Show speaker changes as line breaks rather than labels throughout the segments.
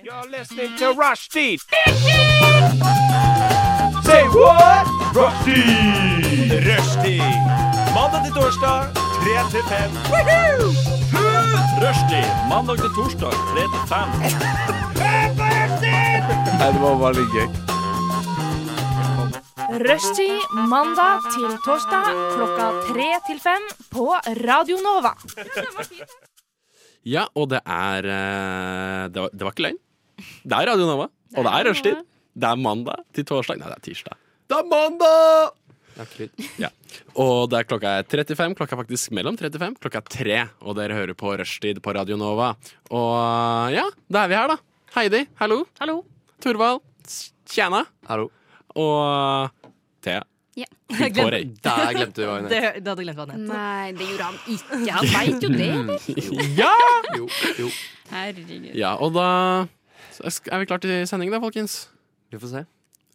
You're listening to Rushdie. Say what? Rushdie. Rushdie. Mandag til torsdag, 3 til 5. Rushdie. Mandag til torsdag, 3 til 5.
Rushtid mandag til torsdag klokka tre til fem på Radio Nova.
Ja, og det er eh, Det var, det var ikke løgn. Det er Radio Nova, og det er rushtid. Det er mandag til torsdag. Nei, det er tirsdag. Det er mandag! Ja. Og det er klokka er 35. Klokka er faktisk mellom 35. Klokka er 3, og dere hører på Rushtid på Radio Nova. Og eh, ja, da er vi her, da. Heidi, hallo. Hallo. Torvald. Tjena.
Hallo.
Og eh, Thea.
Ja.
Hun får ei.
Der glemte du hva hun
Det,
het.
du hadde glemt hva den het.
Nei, det gjorde han ikke. Han veit jo det, eller?
Ja!
Jo, jo.
Herregud.
ja! Og da så er vi klare til sending, da, folkens.
Vi får se.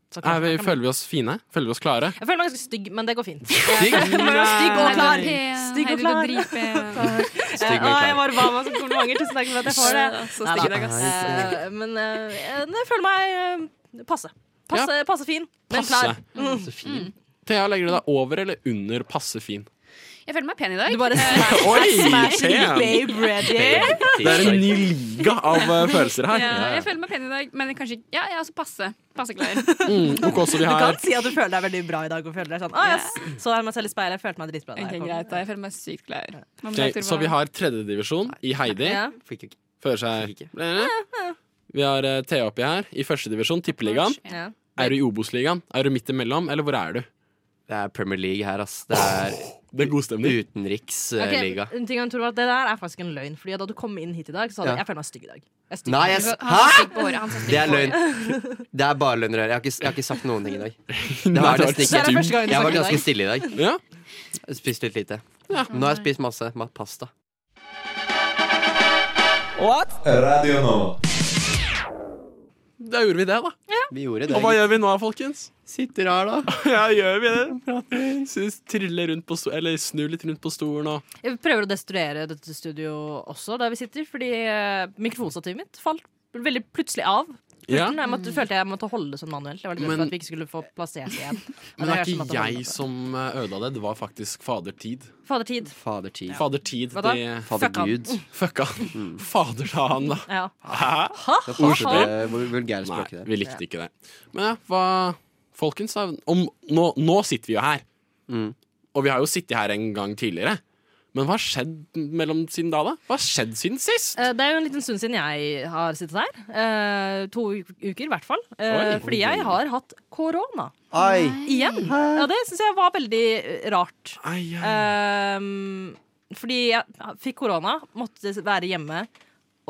Så
Er vi,
kanskje-
føler vi oss fine? Føler vi oss klare?
Jeg føler meg ganske stygg, men det går fint.
Stygg
og klar.
Stygg og klar. Takk.
Stygg, men
Eh, å, jeg
klar.
bare ba meg som komplimenter. Tusen takk for at jeg får det.
Så
Neida.
stygg i dag, ass.
Eh, men eh, jeg føler meg eh, passe. Passe, passe fin, men
Passe. Mm.
klar. Mm.
Så fin.
Thea, legger du deg over eller under passe fin?
Jeg føler meg pen i dag.
Du bare
Oi,
babe ready.
Det er en ny liga av eh, følelser her.
ja, jeg føler meg pen i dag, men kanskje ikke Ja, jeg er altså passe. Passe klar.
Mm, ok, så vi
Du
har
kan si at du føler deg veldig bra i dag. Og føler deg sånn, ah, yes. Så er meg selv i speilet, jeg følte meg dritbra. da
Ok,
jeg kom.
greit, da. Jeg føler meg sykt klar. Hva med
Ok,
deg, Torvald?
Så vi har tredjedivisjon i Heidi.
Ja.
Fikk jo ikke.
Fører seg Vi har eh, Thea oppi her. I førstedivisjon, tippeligaen.
Ja.
Er du i Obos-ligaen? Er du midt imellom, eller hvor er du?
Det er Premier League her, ass. Det er
Det er god stemning.
Ok,
utenriksliga.
en ting han tror var at Det der er faktisk en løgn. Fordi Da du kom inn hit i dag, så sa du
Ja.
jeg føler meg stygg i dag. Jeg er stygg.
Nei,
Han
jeg s-
sa
Hæ?!
stygg på håret, han sa stygg
Det er
på håret.
løgn. Det er bare løgn. Rører. Jeg, har ikke- jeg har ikke sagt noen ting i dag.
Nei,
var
det
nesten
Så det er
dumt.
første gangen du
Jeg var
snakker i
ganske
dag.
stille i dag.
Ja.
Jeg Spiste litt lite. Nå har jeg spist masse ma- pasta.
Radio Nova.
Da gjorde vi det, da.
Vi gjorde
Og hva gjør vi nå, folkens?
Sitter her, da.
Ja, gjør vi det? Synes, triller rundt på sto eller snur litt rundt på stolen og
Jeg prøver å destruere dette studio også, der vi sitter, fordi eh, mikrofonstativet mitt falt veldig plutselig av.
Ja.
Jeg måtte, følte jeg måtte holde det sånn manuelt. Jeg var litt redd
Men-
for at vi ikke skulle få plassert det igjen.
Men det er
jeg som
ikke
måtte holde
jeg
det.
som eh, ødela det. Det var faktisk fader tid.
Fader tid.
Fader tid.
Fader tid,
Hva da? Mm.
det
Fader
Fuck han.
Gud.
fucka Fader ta han, da.
Ja.
Hæ?
Det er fader, vul- vulgære
Nei,
språket der.
vi likte ikke det. Men ja, hva Folkens, da, om, nå, nå sitter vi jo her.
Mm.
Og vi har jo sittet her en gang tidligere. Men hva har skjedd mellom siden da, da? Hva har skjedd siden sist?
Eh, Det er jo en liten stund siden jeg har sittet her. Eh, to u- uker, i hvert fall. Eh,
Oi.
fordi jeg har hatt korona.
Oi!
Igjen. Ja, det syns jeg var veldig eh, rart.
Ai,
eh,
ai.
Ehm, fordi jeg fikk korona, måtte være hjemme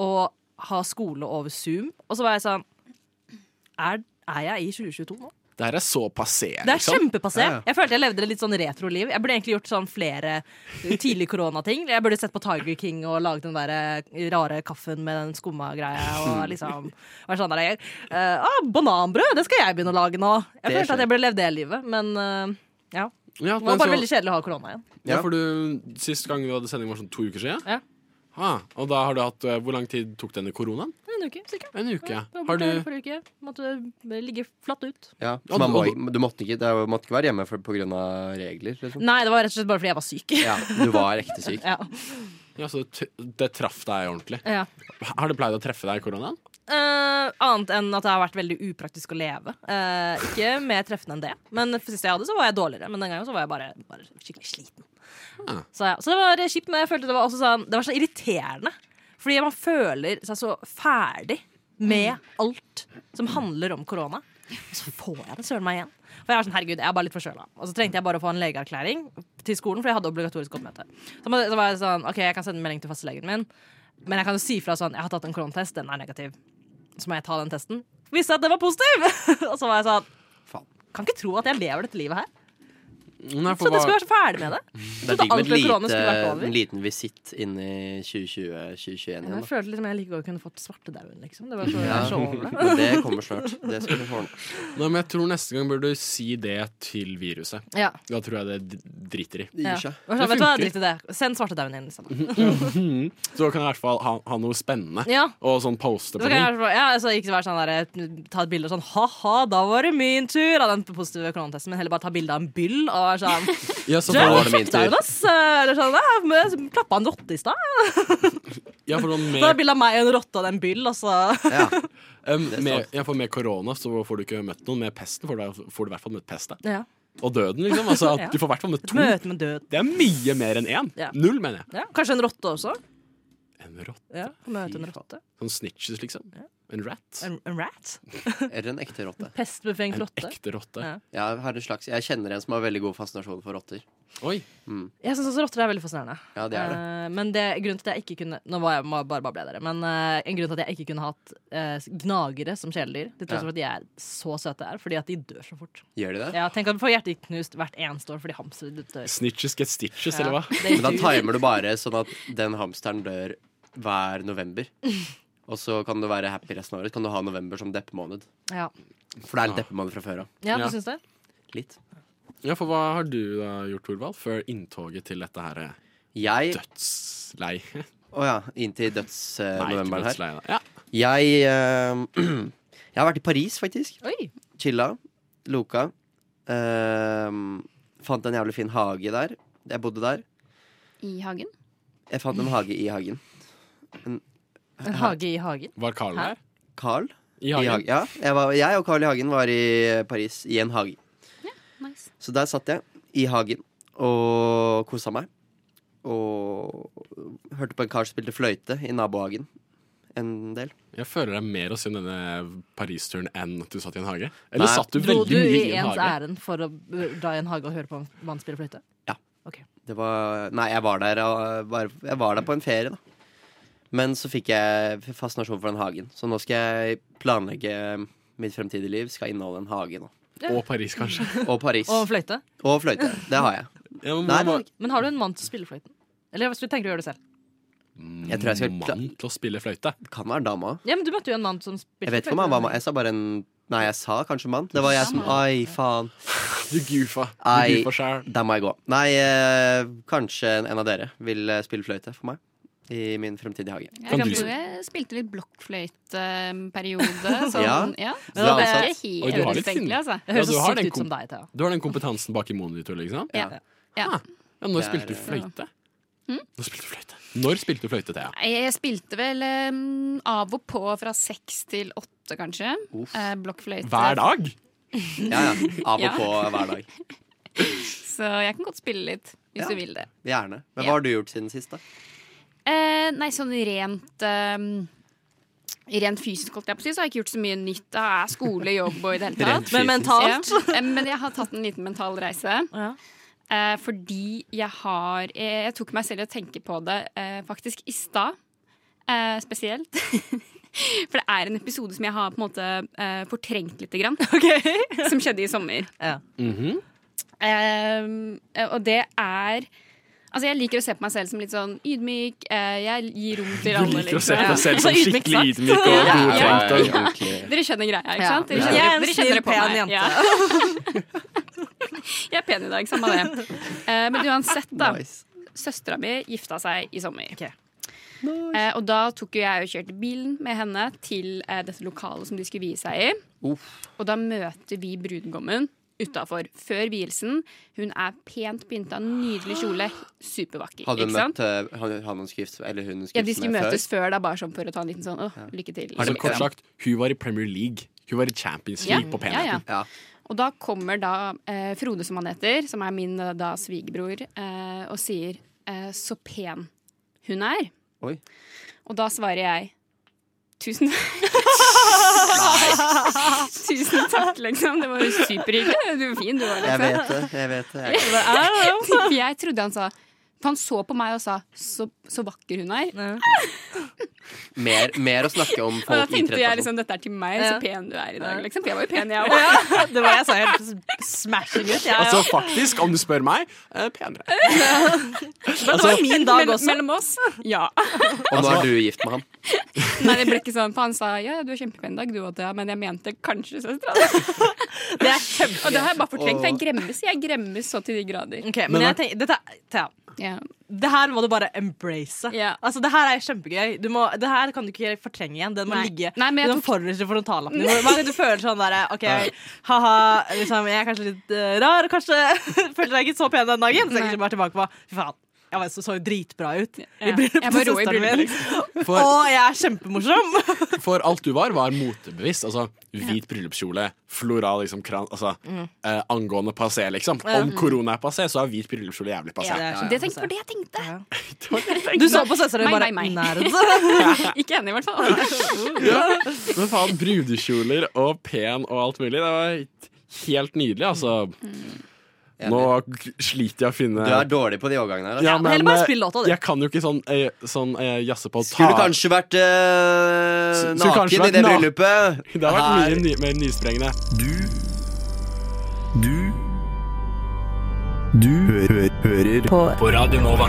og ha skole over Zoom. Og så var jeg sånn Er, er jeg i 2022 nå?
Det her er så passé,
Det er
liksom.
kjempepassé.
Ja, ja.
Jeg følte jeg levde et litt sånn retroliv. Jeg burde egentlig gjort sånn flere tidlig koronating. Jeg burde sett på Tiger King og laget den der eh, rare kaffen med den skumma greia. Og liksom vært sånn der jeg, eh, ah, Bananbrød! Det skal jeg begynne å lage nå. Jeg
Det
følte at jeg burde levd det livet, men eh, ja.
Ja,
Det var
men
bare
så,
veldig kjedelig å ha korona igjen.
ja, for du, sist gang vi hadde sending, var sånn to uker siden.
Ja.
Ah, og da har du hatt eh, Hvor lang tid tok denne koronaen?
En uke, sikkert.
En uke.
Jeg var
Har
borte
du
hele forrige uke. Måtte ligge flatt ut.
Ja.
Ja,
Man må,
og-
du måtte ikke, det er jo- måtte ikke være hjemme for, på grunn av regler, liksom.
Nei, det var rett og slett bare fordi jeg var syk.
Ja, du var ekte syk.
Ja.
Ja, så det, t- det traff deg ordentlig.
Ja.
Har det pleid å treffe deg i koronaen?
Eh, annet enn at det har vært veldig upraktisk å leve. Eh, ikke mer treffende enn det. Men sist jeg hadde, så var jeg dårligere. Men den gangen så var jeg bare, bare skikkelig sliten.
Ah.
Så, ja. så det var kjipt, men jeg følte det var også sånn Det var så irriterende. Fordi man føler seg så ferdig med alt som handler om korona. Og så får jeg det søren meg igjen. For jeg var sånn, herregud, jeg er bare litt forkjøla. Og så trengte jeg bare å få en legeerklæring til skolen, for jeg hadde obligatorisk oppmøte. Så, må- så var jeg sånn, ok, jeg kan sende en melding til fastlegen min, men jeg kan jo si fra sånn, jeg har tatt en koronatest, den er negativ. Så må jeg ta den testen. Viste at den var positiv! og så var jeg sånn,
Faen.
kan ikke tro at jeg lever dette livet her.
Nei, for
Så
hva-
det skulle være så ferdig med det.
Det er
trodde
digg med
alt ved korona
et
skulle vært over.
lite, en liten visitt inn i 2020-2021
Jeg
igjen. Da.
følte liksom jeg like godt kunne fått svartedauden, liksom. Det var så,
Ja,
jeg er så over det.
men det kommer snart. Det skal vi få ordne.
Nei, men jeg tror neste gang bør du si det til viruset.
Ja.
Da tror jeg det d- driter i.
Det Mhm.
Ja.
gir seg.
Og så, Vet du hva,
funker.
drit i det. Send svartedauden din. Liksom.
Så kan jeg i hvert fall ha, ha noe spennende.
Ja.
Og sånn poste
Så
på
kan jeg, i
ting.
hvert fall- ja, altså, ikke være sånn der, ta et bilde og sånn ha-ha, da var det min tur av den positive koronatesten, men heller bare ta bilde av en byll og være sånn
Ja, så
Du,
var
for,
det min
kjefta hun,
tur.
ass! Eller sånn, ja, men Klappa han rotte i stad?
ja, for sånn
Det var
med,
bilde av meg og en rotte og en byll, og så
Ja.
em,
Det er
med,
sant.
ja, for med korona så får du ikke møtt noen. Med pesten får du, får du i hvert fall møtt pesta.
ja.
Og døden, liksom. Altså, at
Ja.
Du får i hvert fall møtt to.
Møte med død.
Det er mye mer enn én.
Ja.
Null, mener jeg.
Ja. Kanskje en rotte også?
En rått.
Ja. Møte en rotte.
Sånn snitches, liksom. En rat.
En, en rat?
Eller en ekte rotte.
Pestbefengt
En
rotte?
ekte rotte.
Ja.
Jeg, har en slags, jeg kjenner en som har veldig god fascinasjon for rotter.
Oi.
Jeg syns også rotter er veldig fascinerende.
Ja, det er det.
Eh, men det, grunnen til at jeg ikke kunne Nå var jeg må bare bare ble dere, men eh, en grunn til at jeg ikke kunne hatt eh, gnagere som kjæledyr, til tross
Ja.
for at de er så søte, er fordi at de dør så fort.
Gjør de det?
Ja, tenk at du får hjertet knust hvert eneste år fordi hamstere dør.
Snitches get stitches,
Ja.
eller hva?
Det
Men da timer du bare sånn at den hamsteren dør hver november. Og så kan du være happy resten av året. Så Kan du ha november som deppemåned.
Ja,
For det er en deppemåned fra før av.
ja du
Ja.
syns det?
Litt.
Ja, for hva har du da gjort, Torvald, før inntoget til dette her eh,
Jeg
dødslei?
Å ja, inn til
Nei, ikke
dødsnovemberen her.
dødslei. da. Ja.
Jeg eh, Jeg har vært i Paris, faktisk.
Oi!
Chilla. Loka. Eh, fant en jævlig fin hage der. Jeg bodde der.
I hagen?
Jeg fant
Mm.
en hage i hagen.
En hage i hagen.
Var Karl
Hæ?
der?
Carl
I
I
hagen?
hagen. Ja, jeg, var, jeg og Carl I. Hagen var i Paris i en hage.
Nice.
Så der satt jeg i hagen og kosa meg. Og hørte på en kar som spilte fløyte i nabohagen en del.
Jeg føler det er mer å si om denne Paris-turen enn at du satt i en hage. Eller
Nei.
satt du
Dro
veldig
du
mye
i
i en
ens
hage?
ærend for å uh, dra i en hage og høre på en mann spille fløyte?
Det var Nei, jeg var der, og bare, jeg var der på en ferie, da. Men så fikk jeg fascinasjon for den hagen. Så nå skal jeg planlegge mitt fremtidige liv. Skal inneholde en hage nå.
Og Paris, kanskje.
Og Paris.
Og en fløyte?
Og fløyte. Det har jeg.
Ja, men
Nei,
hva- hva-
Men har du en mann til å spille fløyten? Eller hvis du tenker å gjøre det selv?
Jeg tror jeg skal kla-
Mann til å spille fløyte.
Kan være dama.
Ja, men Du møtte jo en mann som spilte
Jeg vet ikke om han var mann. Jeg sa bare en Nei, jeg sa kanskje mann. Det var jeg som Ai, faen.
Du goofa. Du
Nei.
goofa sjæl.
Der må jeg gå. Nei, eh, kanskje en av dere vil eh, spille fløyte for meg. I min fremtidige hage.
Kan
Jeg,
du-
kan jeg spilte litt blokkfløyteperiode. Sånn, ja. Det
Så det er
er
ansatt.
ikke
Oi, du har
helt
litt fin-
utenkelig, altså.
Ja,
Det høres
du
så
har
sykt
den
ut som
kom-
deg, Thea.
Du har den kompetansen bak i monitor, liksom.
Ja.
Ja.
Ja, Hmm? når
Det er-
spilte du fløyte? eh, Når spilte du fløyte? Når spilte du fløyte, Thea?
Nei, Jeg spilte vel em, av og på fra seks til åtte, kanskje.
Uff.
Eh, blokkfløyte.
Hver dag?
Ja, ja. Av
Ja.
og på hver dag.
Så jeg kan godt spille litt, hvis
Ja.
du vil det.
Gjerne.
Ja.
Men hva har du gjort siden sist, da?
Eh, nei, sånn rent em, Rent fysisk holdt jeg på å si, så har jeg ikke gjort så mye nytt. Da er skole, jobb og i det hele tatt.
Rent
Men
fysisk.
mentalt
Ja. Eh, Men jeg har tatt en liten mental reise.
Ja.
Eh, fordi jeg har jeg, jeg tok meg selv i å tenke på det eh, faktisk i stad. Eh, spesielt. For det er en episode som jeg har på en måte eh, fortrengt lite grann. Som skjedde i sommer.
Ja.
Eh, og det er Altså, jeg liker å se på meg selv som litt sånn ydmyk. Eh, jeg gir rom til
Du
alle.
liker å
liksom.
se på deg selv
Så
som
ydmyk
skikkelig
sagt.
ydmyk og godtenkt. og-
ordentlig.
Dere skjønner greia, ikke
Ja.
sant? Dere
Ja.
Jeg
skjønner,
er en
dere
snill,
skjønner det på
pen
meg.
jente.
Ja. jeg er pen i dag, samme det. Eh, men uansett, da.
Nice.
Søstera mi gifta seg i sommer.
Ok.
Eh, og da tok jo jeg og kjørte bilen med henne til eh, dette lokalet som de skulle vie seg i.
Uff.
Og da møter vi brudgommen utafor før vielsen. Hun er pent pynta, nydelig kjole, supervakker.
Hadde hun
ikke sant?
møtt eh, han, han hun skrift, eller hun hun
Ja,
skrift
de skulle
med før?
møtes før, da, bare sånn for å ta en liten sånn åh, lykke til.
Har
Altså,
de-
kort sagt, hun var i Premier League. Hun var i Champions
Ja,
League på
ja, ja.
penheten.
Ja.
Og da kommer da eh, Frode, som han heter, som er min eh, da svigerbror, eh, og sier eh, 'så pen hun er'.
Oi.
Og da svarer jeg Tusen Tusen takk, liksom. Det var jo superhyggelig. Du var fin, du var
Jeg
liksom.
vet det. Jeg vet det. Jeg,
For jeg trodde han sa For han så på meg og sa 'så, så vakker hun er'.
mer, mer å snakke om
Og da
folk i
tenkte jeg
tredje
liksom, dette er til meg,
Ja.
så pen du er i dag, liksom. For jeg var jo pen, jeg òg.
Ja, det var jeg sa helt smashing ut. Jeg,
Altså faktisk, om du spør meg, eh, penere.
men det
altså-
var min dag også.
Mellom oss. Ja. liksom-
Og nå er du gift med han.
Nei, det ble ikke sånn. For han sa ja, du er kjempepen i dag, du òg, men jeg mente kanskje søstera di.
det er kjempe...
Og det har jeg bare fortrengt, for jeg gremmes. Jeg gremmes så til de grader.
Ok, men jeg tenker, dette, Thea,
Ja.
det her må du bare embrace.
Ja.
Altså, det her er kjempegøy. Du må, det her kan du ikke fortrenge igjen. Den må
Nei.
ligge
Nei, men jeg
den
tok-
forreste frontallappen. Du, må- du føler sånn derre OK, ha-ha, liksom, jeg er kanskje litt eh, rar. Kanskje føler deg ikke så pen den dagen. Så jeg
Nei.
kanskje bare tilbake på Fy faen. Jeg var, så, så jo dritbra ut i
Ja.
bryllupet
Jeg
til
var rå i
søsteren min.
bryllupet,
liksom. For,
Og jeg er kjempemorsom!
for alt du var, var motebevisst. Altså hvit bryllupskjole, floral liksom, kran, altså, eh, angående passé, liksom. Om korona er passé, så er hvit bryllupskjole jævlig passé.
Ja,
Det tenkte, for det jeg tenkte.
Du så på søsteren din
Meg,
bare
meg, meg.
Nerd.
Ikke enig, i hvert fall.
Ja, men faen, brudekjoler og pen og alt mulig. Det var helt nydelig, altså. Nå sliter jeg å finne
Du er dårlig på de overgangene her. altså.
Ja,
heller
men
bare
eh,
spill låta, du.
jeg kan jo ikke sånn, eh, sånn eh, jazze på
Skulle kanskje vært eh,
Skulle
naken
kanskje vært
i det
na-
bryllupet.
Det har vært
Her.
mye ny, mer nysprengende.
Du Du Du hø hø hører på. på Radio Nova.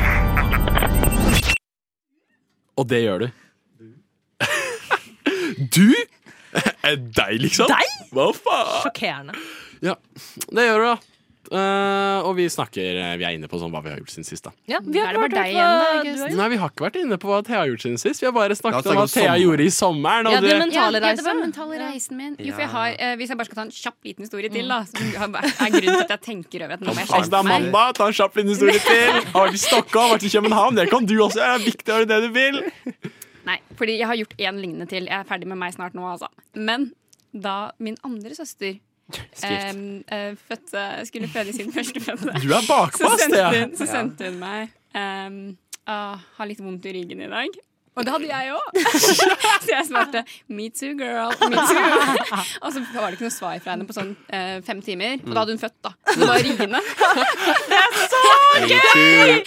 Og det gjør du. du? Eh, Deg, liksom?
Deg?
Hva faen?
Sjokkerende.
Ja, det gjør du, da. Eh, og vi snakker eh, Vi er inne på sånn hva vi har gjort siden sist. da
Ja, vi
Da er det bare
ikke
deg
hørt hva
igjen, da,
du har gjort.
Nei, vi har ikke vært inne på hva Thea har gjort siden sist. Vi har bare
Ja,
snakket om
snakket
hva
om
Thea
sommer.
gjorde i sommeren. Og
Ja,
det,
det men- Mentale
Ja, Mm. det var
reise.
mentale reisen min. Jo, for jeg
Ja.
har, eh, hvis jeg bare skal ta en kjapp liten historie til, da, som har- er grunnen til at jeg tenker over at nå må jeg
altså, det
skjerpe
er
meg.
mandag, ta en kjapp liten historie til. Har vært i Stockholm, har vært i København. Det kan du også gjøre. Det er viktig å gjøre det du vil.
Nei, fordi jeg har gjort én lignende til. Jeg er ferdig med meg snart nå, altså. Men da min andre søster eh, eh, fødte, skulle føde sin første fødte,
Du er bakpå,
så
ass,
sendte
Thea.
hun, så sendte hun meg eh, «Ah, Har litt vondt i ryggen i dag. Og det hadde jeg òg! så jeg svarte me too, girl. Me too. og så var det ikke noe svar fra henne på sånn eh, fem timer. Og da hadde hun født, da.
Mm.
Så det var riggende. Eh,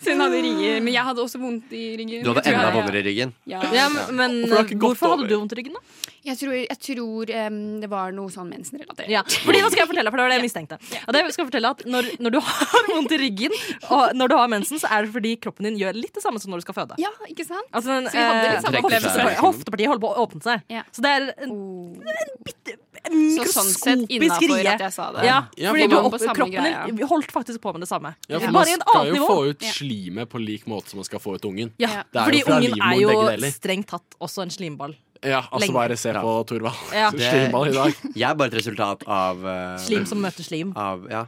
Så hun hadde
Mm.
ringer. Men jeg hadde også vondt i ryggen.
Du hadde
Jeg tror
enda
jeg-
vondere i ryggen.
Ja.
Ja, men eh,
Hvorfor har det ikke gått
hvorfor hadde
over?
du vondt i ryggen, da?
Jeg tror, jeg tror em, det var noe sånn mensenrelatert.
Ja, fordi nå skal jeg fortelle, for det var det jeg mistenkte. Og det skal jeg fortelle at når, når du har vondt i ryggen, og når du har mensen, så er det fordi kroppen din gjør litt det samme som når du skal føde.
Ja, ikke sant?
Altså, den,
Så vi hadde litt
eh,
samme
Trekker seg.
opplevelse.
hoftepartiet- Hoftepartiet holder på å åpne seg.
Ja.
Så det er en
Så sånn sett
mikroskopisk
innafor
rie.
at jeg sa det.
Ja,
Ja,
fordi
for
du
man-
opp,
på samme
kroppen din
greia.
holdt faktisk på med det samme.
Ja, for man
Bare i en
skal
annet
jo
nivå.
få ut
Ja.
slimet på lik måte som man skal få ut ungen.
Ja,
Det er jo
fordi
fra
ungen
livmoren
er
begge
jo
deler.
strengt tatt også en slimball.
Ja, altså
Lenge.
bare se på Torvald.
Ja.
Slimball i dag.
Jeg er bare et resultat av eh,
Slim som møter slim.
Av, ja.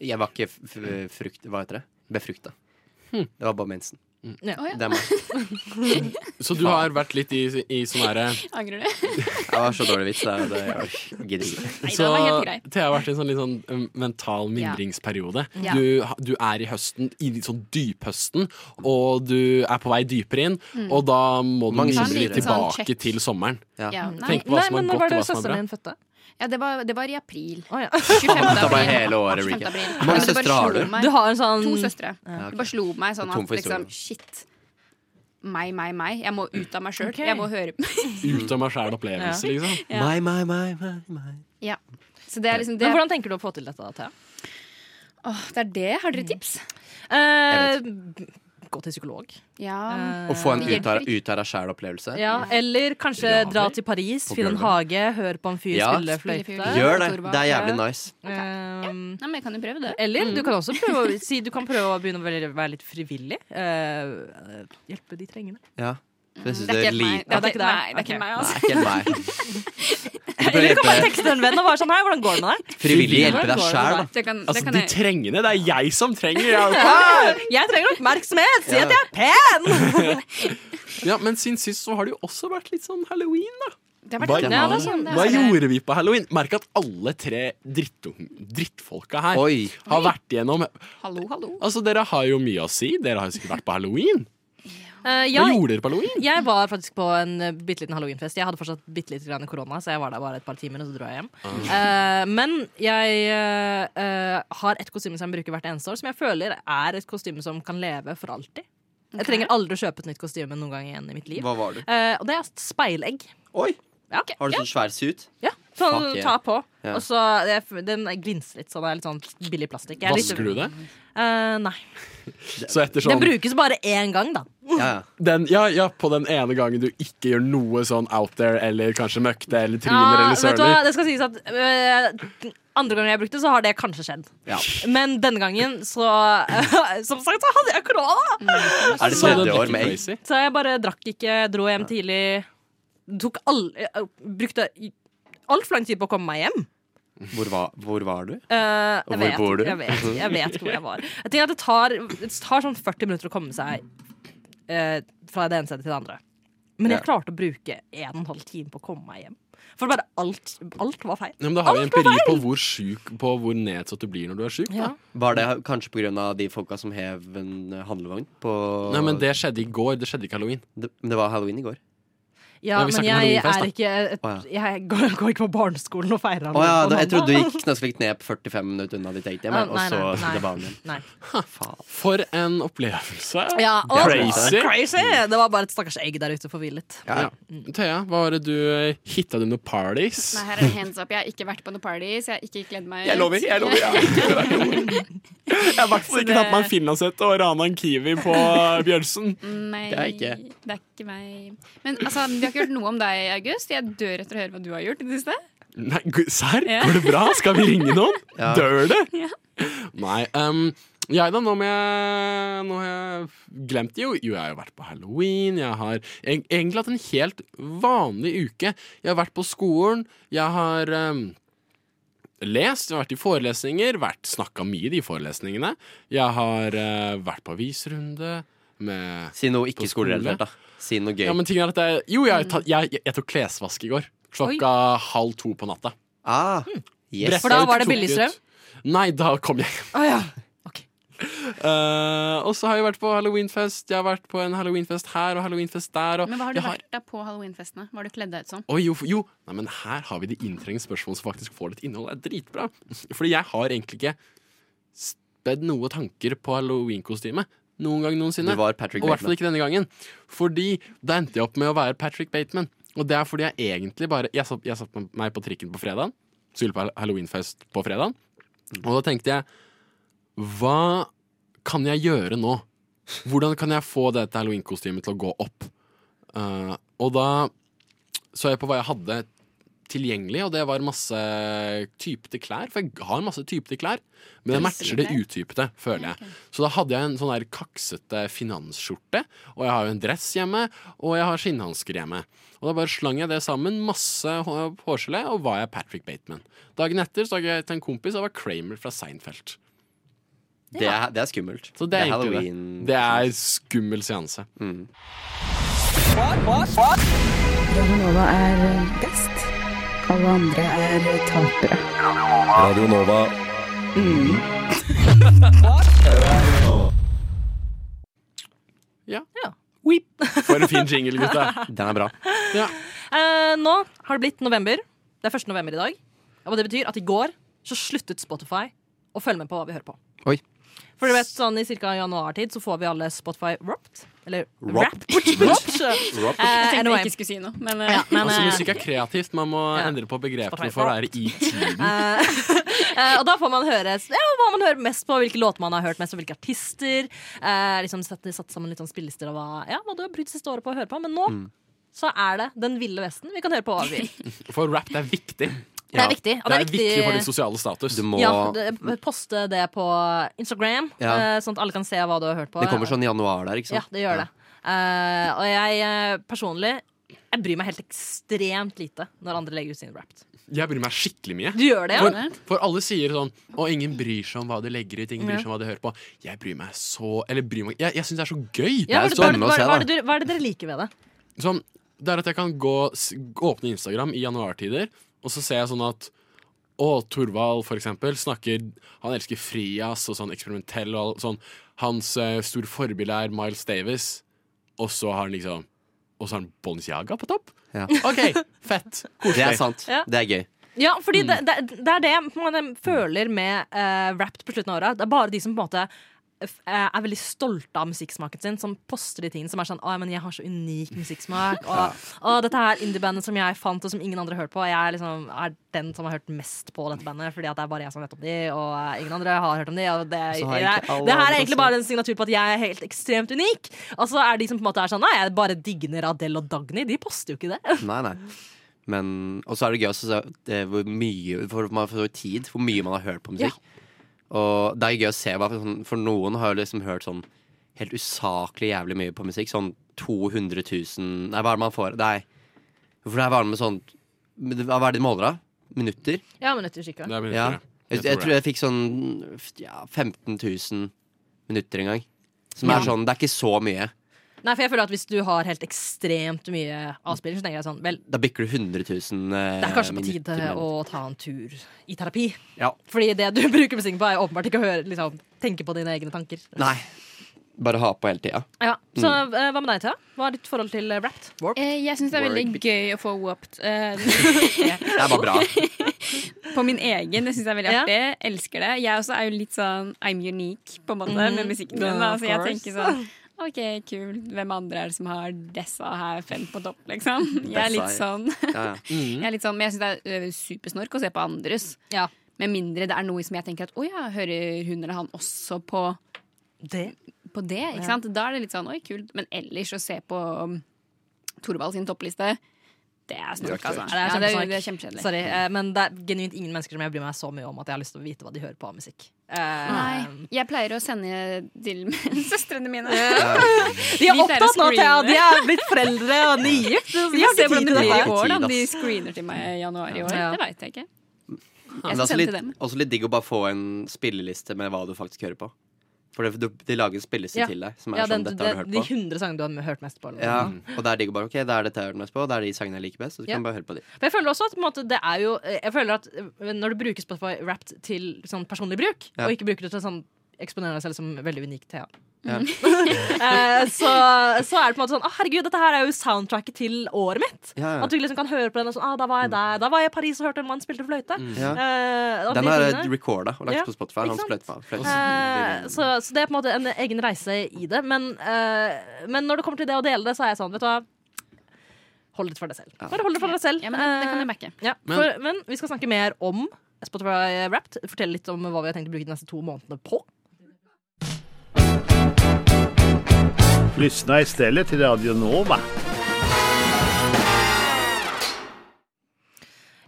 Jeg var ikke f- f- frukt... Hva heter det? Befrukta. Det var bare mensen.
Å, ja.
Det er meg.
Så du har vært litt i, i sånn herre
Angrer du?
Jeg var så dårlig vits. Det, det, jeg gidder ikke.
Nei,
Så
det var helt grei.
Thea har vært i en sånn litt sånn um, mental mimringsperiode.
Ja.
Du, ha- du er i høsten, i litt sånn dyphøsten, og du er på vei dypere inn.
Mm.
Og da må du
Mange
mimre
kjenner
litt
det.
Sånn
tilbake
check.
til sommeren.
Ja.
Ja.
Nei,
Tenk på hva som er
men
godt,
når var
og
det
hva som er
søsteren
bra.
din fødte?
ja det, var, det var i april.
Å, ja.
25.
Da var
april.
hele året
25.
recap.
april.
Hvor
Det
mange
bare
søstre har
slo
du?
meg.
Du har en sånn
To søstre.
ok.
Det bare slo meg sånn
Tom
at liksom,
for historien.
shit. Meg, meg, meg. Jeg må ut av meg sjøl.
Ok.
Jeg må høre
Ut av meg sjæl opplevelse, liksom.
Ja.
Meg, meg, meg, meg, meg.
Ja. Så det er liksom det.
Men hvordan tenker du å få til dette, da, Thea?
Åh, det er det. Har dere tips?
Eh, gå til psykolog.
Ja.
Å få en
Det hjelper
utara- utara sjæl-opplevelse.
Ja, eller kanskje
Graver.
dra til Paris,
På
finne en
gulvet.
hage, høre på en fyr
Ja.
spille fløyte.
Spille fiolin.
Gjør det.
Torvald.
Det er jævlig nice.
Um,
Nei, men jeg kan jo prøve det.
eller du kan også prøve å, si, du kan prøve å begynne å være, være litt frivillig. eh, hjelpe de trengende.
Ja. Jeg
Mm. Det
synes
er
det
ikke
er
helt meg.
Ja,
Det
lite.
er ikke, nei, det er
Ok.
ikke meg,
Nei,
altså.
ikke helt meg. Du bør
Eller du kan bare
hjelpe,
tekste en venn og være sånn Hei, hvordan går det med deg?
frivillig hjelpe deg sjæl, da.
Det kan, det
Altså,
kan
de
jeg.
trengende. Det er jeg som trenger hjelp!
Jeg trenger oppmerksomhet! Si at jeg er pen!
Ja, men siden sist så har det jo også vært litt sånn halloween, da.
Det har vært
Hva-
sånn- litt
Ja, det er
annerledes,
sant.
det er
Hva
det.
gjorde vi på halloween? Merk at alle tre drittung- drittfolka her
Oi.
har vært gjennom
Hallo, hallo.
Altså, dere har jo mye å si. Dere har jo sikkert vært på halloween.
Eh,
Hva
jeg,
gjorde dere på halloween?
jeg var faktisk på en eh, bitte liten halloweenfest. Jeg hadde fortsatt bitte lite grann korona, så jeg var der bare et par timer, og så dro jeg hjem. Eh, men jeg eh, eh, har et kostyme som jeg bruker hvert eneste år, som jeg føler er et kostyme som kan leve for alltid. Jeg trenger aldri å kjøpe et nytt kostyme noen gang igjen i mitt liv.
Hva var du?
Eh, og det er speilegg.
Oi!
Ja,
Har du
ja,
sånn svær suit?
ja. Sånn
Fuck
du
yeah.
tar på.
Ja.
Og så det- Den glinser litt, så det er litt sånn billig plastikk. Jeg er litt-
Vasker du det?
Eh, nei.
Så etter sånn
Den brukes bare én gang, da.
Ja, ja.
den, ja, ja, på den ene gangen du ikke gjør noe sånn out there, eller kanskje møkte, eller tryner,
Ja,
eller
Ah, vet du hva,
søler.
det skal sies at eh, Andre ganger jeg brukte, så har det kanskje skjedd.
Ja.
Men denne gangen, så Som sagt, så hadde jeg korona!
Sånn Er det
Så den
tredje
blir
år
ikke
med egg?
crazy.
Så jeg bare drakk ikke, dro hjem tidlig. Tok all, eh, brukte altfor lang tid på å komme meg hjem.
Hvor, var- hvor var du?
Eh, jeg
Hvor
vet,
bor du?
Jeg vet, jeg vet ikke hvor jeg var. Jeg tenker at det tar, det tar sånn 40 minutter å komme seg eh, fra det ene stedet til det andre. Men jeg
Ja.
klarte å bruke en og en halv time på å komme meg hjem. For bare alt, alt var feil.
Ja, men da har vi empiri på hvor, syk, på hvor nedsatt du blir når du er syk. Da.
Var det kanskje på grunn av de folka som hev en eh, handlevogn på
Nei, men det skjedde i går. Det skjedde ikke halloween.
det, men det var halloween i går.
Ja,
Ja, vi
men
snakker om
jeg
halloweenfest, da.
er ikke et,
Å,
Jeg går, går ikke på barneskolen og feirer
Å ja,
halloween på
da, jeg
mandag.
trodde du gikk knøsflikt ned på 45 minutter unna ditt eget hjem,
Ah,
og
nei,
så
nei, nei.
skulle banen igjen.
Nei.
Faen.
For en opplevelse.
Ja, og,
Crazy.
crazy! Det var bare et stakkars egg der ute forvillet.
Ja.
Ja. Thea, hva var det du hitta du noen parties?
Nei, her er det hands up. Jeg har ikke vært på noen parties. Jeg har ikke kledd meg ut.
jeg lover. Jeg har i hvert fall ikke tatt meg en finlandshette og rana en kiwi på Bjølsen.
Nei,
Det er ikke.
det er ikke meg. Men altså, vi har ikke hørt noe om deg, August. Jeg dør etter å høre hva du har gjort i det siste.
Nei, gu- serr?
Ja.
Går det bra? Skal vi ringe noen?
Ja.
Dør det?
Ja.
Nei. Um, jeg da, nå må jeg Nå har jeg glemt det jo. Jo, jeg har jo vært på halloween. Jeg har eg- egentlig hatt en helt vanlig uke. Jeg har vært på skolen. Jeg har um, lest, jeg har vært i forelesninger. Vært Snakka mye i de forelesningene. Jeg har eh, vært på avisrunde med
Si noe ikke
På skole?
skolerelatert, da. Si noe gøy.
Ja, men ting er at jeg, Jo, jeg, har tatt- jeg, jeg, jeg tok klesvask i går. Klokka halv to på natta.
ah, yes.
For da var det
Tok
billigstrøm?
ut- Nei, da kom jeg.
Å ja.
Eh, og så har jeg vært på halloweenfest. Jeg har vært på en halloweenfest her og halloweenfest der. Og
Men hva har du
jeg har-
vært da på halloweenfestene? Hva har du kledd deg ut som?
Oi, jo, jo. Nei, men her har vi de inntrengende spørsmålene som faktisk får litt innhold. Det er dritbra. Fordi jeg har egentlig ikke spedd noe tanker på halloweenkostyme noen gang noensinne.
Du var Patrick
Og i hvert fall
Bateman.
ikke denne gangen. Fordi da endte jeg opp med å være Patrick Bateman. Og det er fordi jeg egentlig bare Jeg satt, jeg satt med meg på trikken på fredagen. Skulle på halloweenfest på fredagen. Og da tenkte jeg Hva kan jeg gjøre nå? Hvordan kan jeg få dette halloweenkostymet til å gå opp? Eh, og da så jeg på hva jeg hadde tilgjengelig, og det var masse typete klær. For jeg har masse typete klær, men jeg matcher det utypete, føler jeg. Så da hadde jeg en sånn der kaksete finansskjorte, og jeg har jo en dress hjemme, og jeg har skinnhansker hjemme. Og da bare slang jeg det sammen, masse hå- hårgelé, og var jeg Patrick Bateman. Dagen etter så jeg til en kompis, og jeg var Kramer fra Seinfeld.
Det er, det er skummelt.
Så det er Mm. egentlig det.
halloween.
Det er skummel seanse.
Radionova er best. Alle andre er tapere.
Radio Nova.
Ja.
Ja.
For en fin jingle, gutta.
Den er bra.
Ja.
Eh, nå har det blitt november. Det er 1. november i dag. Og det betyr at i går så sluttet Spotify å følge med på hva vi hører på.
Oi.
For du vet, sånn I cirka januartid så får vi alle Spotify Wrapped. Eller
Wrapped.
Wrapped. Wrapped.
Wrapped.
Eh,
Jeg tenkte
anyway.
jeg ikke skulle si noe, men
Ja,
eh,
men,
Altså,
eh,
musikk er kreativt. Man må endre på begrepene
Spotify
for å være i tiden.
Eh, og da får man høre ja, hva man hører mest på, hvilke låter man har hørt mest, og hvilke artister. Eh, liksom satt, satt sammen litt sånn spillelister og hva, ja, hva du har brukt siste året på å høre på. Men nå
Mm.
så er det Den ville vesten. Vi kan høre på hva vi vil.
For rap det er viktig.
Det er viktig. Og
det er viktig for din sosiale status.
Du må
ja, det- poste det på Instagram,
Ja.
eh, sånn at alle kan se hva du har hørt på.
Det kommer sånn i januar der, ikke
Ja,
sant?
det gjør det. Eh, og jeg eh, personlig jeg bryr meg helt ekstremt lite når andre legger ut sine wrapped.
Jeg bryr meg skikkelig mye.
Du gjør det, ja?
For, for alle sier sånn Og ingen bryr seg om hva de legger ut, ingen bryr seg om hva de hører på. Jeg bryr meg så Eller bryr meg Jeg, jeg syns det er så gøy.
ja
er
hva, hva,
spennende å
hva,
se,
hva, er
da.
det du- hva er det dere liker ved det?
Sånn, det er at jeg kan gå, s- åpne Instagram i januartider, og så ser jeg sånn at Å, Thorvald, for eksempel, snakker Han elsker frijazz og sånn eksperimentell og all- sånn. Hans eh, store forbilde er Miles Davis, og så har han liksom Og så har han Bon Jaga på topp.
Ja.
OK, fett.
Det er sant.
Ja.
Det er gøy.
Ja, fordi
Mm.
det, det, det er det jeg på en måte føler med eh, Wrapped på slutten av året. Det er bare de som på en måte f- er veldig stolte av musikksmaken sin, som poster de tingene som er sånn Å, men jeg har så unik musikksmak. Og, «Å, dette er indiebandet som jeg fant, og som ingen andre har hørt på. Jeg er, liksom, er den som har hørt mest på dette bandet, fordi at det er bare jeg som vet om de, og eh, ingen andre har hørt om de. Og det,
Så har
det,
ikke alle
det her
andre
er egentlig
også-
bare en signatur på at jeg er helt ekstremt unik. Og så er de som på en måte er sånn Nei, jeg bare digger Adele og Dagny. De poster jo ikke det.
Nei, nei. Men, og så er det gøy også så, det, hvor mye for man får tid, hvor mye man har hørt på musikk. Og det er gøy å se hva for sånn, For noen har jo liksom hørt sånn helt usaklig jævlig mye på musikk. Sånn 200 000 Nei, hva er det man får? Nei. For det er varme med sånn Hva er det de måler av? Minutter?
Ja, minutter sikkert.
Det er
Ja.
minutter,
Jeg, jeg tror jeg fikk sånn ja, 15 000 minutter en gang. Som er sånn Det er ikke så mye.
Nei, for jeg føler at hvis du har helt ekstremt mye avspilling, så tenker jeg sånn Vel,
Da bikker du 100 000 eh,
det er kanskje på tide
minutter, men-
å ta en tur i terapi.
Ja.
Fordi det du bruker musikken på, er jo åpenbart ikke å høre, liksom, tenke på dine egne tanker.
Nei. Mm. Bare ha på hele tida.
Ja. Så eh, hva med deg, Thea? Hva er ditt forhold til eh, Wrapped?
Eh, Jeg syns det er veldig gøy å få whooped eh,
Det er bare bra.
på min egen. Det syns jeg er veldig
Ja.
artig. Elsker det. Jeg også er jo litt sånn I'm unique på en måte
Mhm.
med musikken
Ja,
min. da.
of
Så jeg
course.
tenker sånn OK, kult. Hvem andre er det som har dessa her fem på topp, liksom? Jeg er litt
Dessa,
sånn.
Ja, ja.
Mhm.
Jeg er litt sånn men jeg syns det er ø, supersnork å se på andres.
Ja.
Med mindre det er noe som jeg tenker at å ja, hører hun eller han også på,
Det.
på det? Ikke sant? Da er det litt sånn oi, kult. Men ellers å se på um, Torvald sin toppliste, det er snork, altså.
det er
Ja, det er,
kjempesnork.
det er kjempekjedelig.
Sorry, eh, men det er genuint ingen mennesker som jeg bryr meg så mye om at jeg har lyst til å vite hva de hører på av musikk. Eh,
Nei, jeg pleier å sende til søstrene mine.
De er
Vi pleier å
opptatt nå, Thea!
screene.
De er blitt foreldre og nygift. så
Vi
de har
får se
ikke
hvordan
tid til
det blir i
dette.
her.
år, da.
Tid,
Om de
ass.
screener til meg i januar i år.
Ja.
Det veit jeg ikke.
Men
Jeg
det er
skal
også
sende
litt,
til dem.
også litt digg å bare få en spilleliste med hva du faktisk hører på. For det, du, de lager en spilleliste
Ja.
til deg som er
Ja, den,
sånn 'dette har du hørt
de
på'.
100 sangene du har hørt mest på. eller noe.
Ja, og det er digg å bare 'ok, det er dette jeg har hørt mest på', det er de sangene jeg liker best. Og så
Ja.
kan du bare høre på de.
Men jeg føler også at på en måte, det er jo Jeg føler at eh, når du bruker Spotify Wrapped til sånn personlig bruk,
Ja.
og ikke bruker det til sånn eksponere deg selv som veldig unik Thea.
Ja.
Eh, så, så er det på en måte sånn Å, herregud, dette her er jo soundtracket til året mitt.
Ja, ja.
At du liksom kan høre på den og sånn ah, Da var jeg der. Da var jeg i Paris og hørte en mann spilte fløyte.
Ja.
Eh, og
Mm. Den
de
er
tingene.
recorda og lagt
Ja,
på Spotify.
ikke
Han
sant?
fløyt på. fløyt.
Eh, så, så det er på en måte en egen reise i det. Men, eh, men når det kommer til det å dele det, så er jeg sånn, vet du hva Hold det for deg selv. Bare hold det for deg selv.
Ja, men det, det kan
Eh,
jeg backe.
ja, men, for, men vi skal snakke mer om Spotify Wrapped. Fortelle litt om hva vi har tenkt å bruke de neste to månedene på.
Lyssna istället till Radio Nova.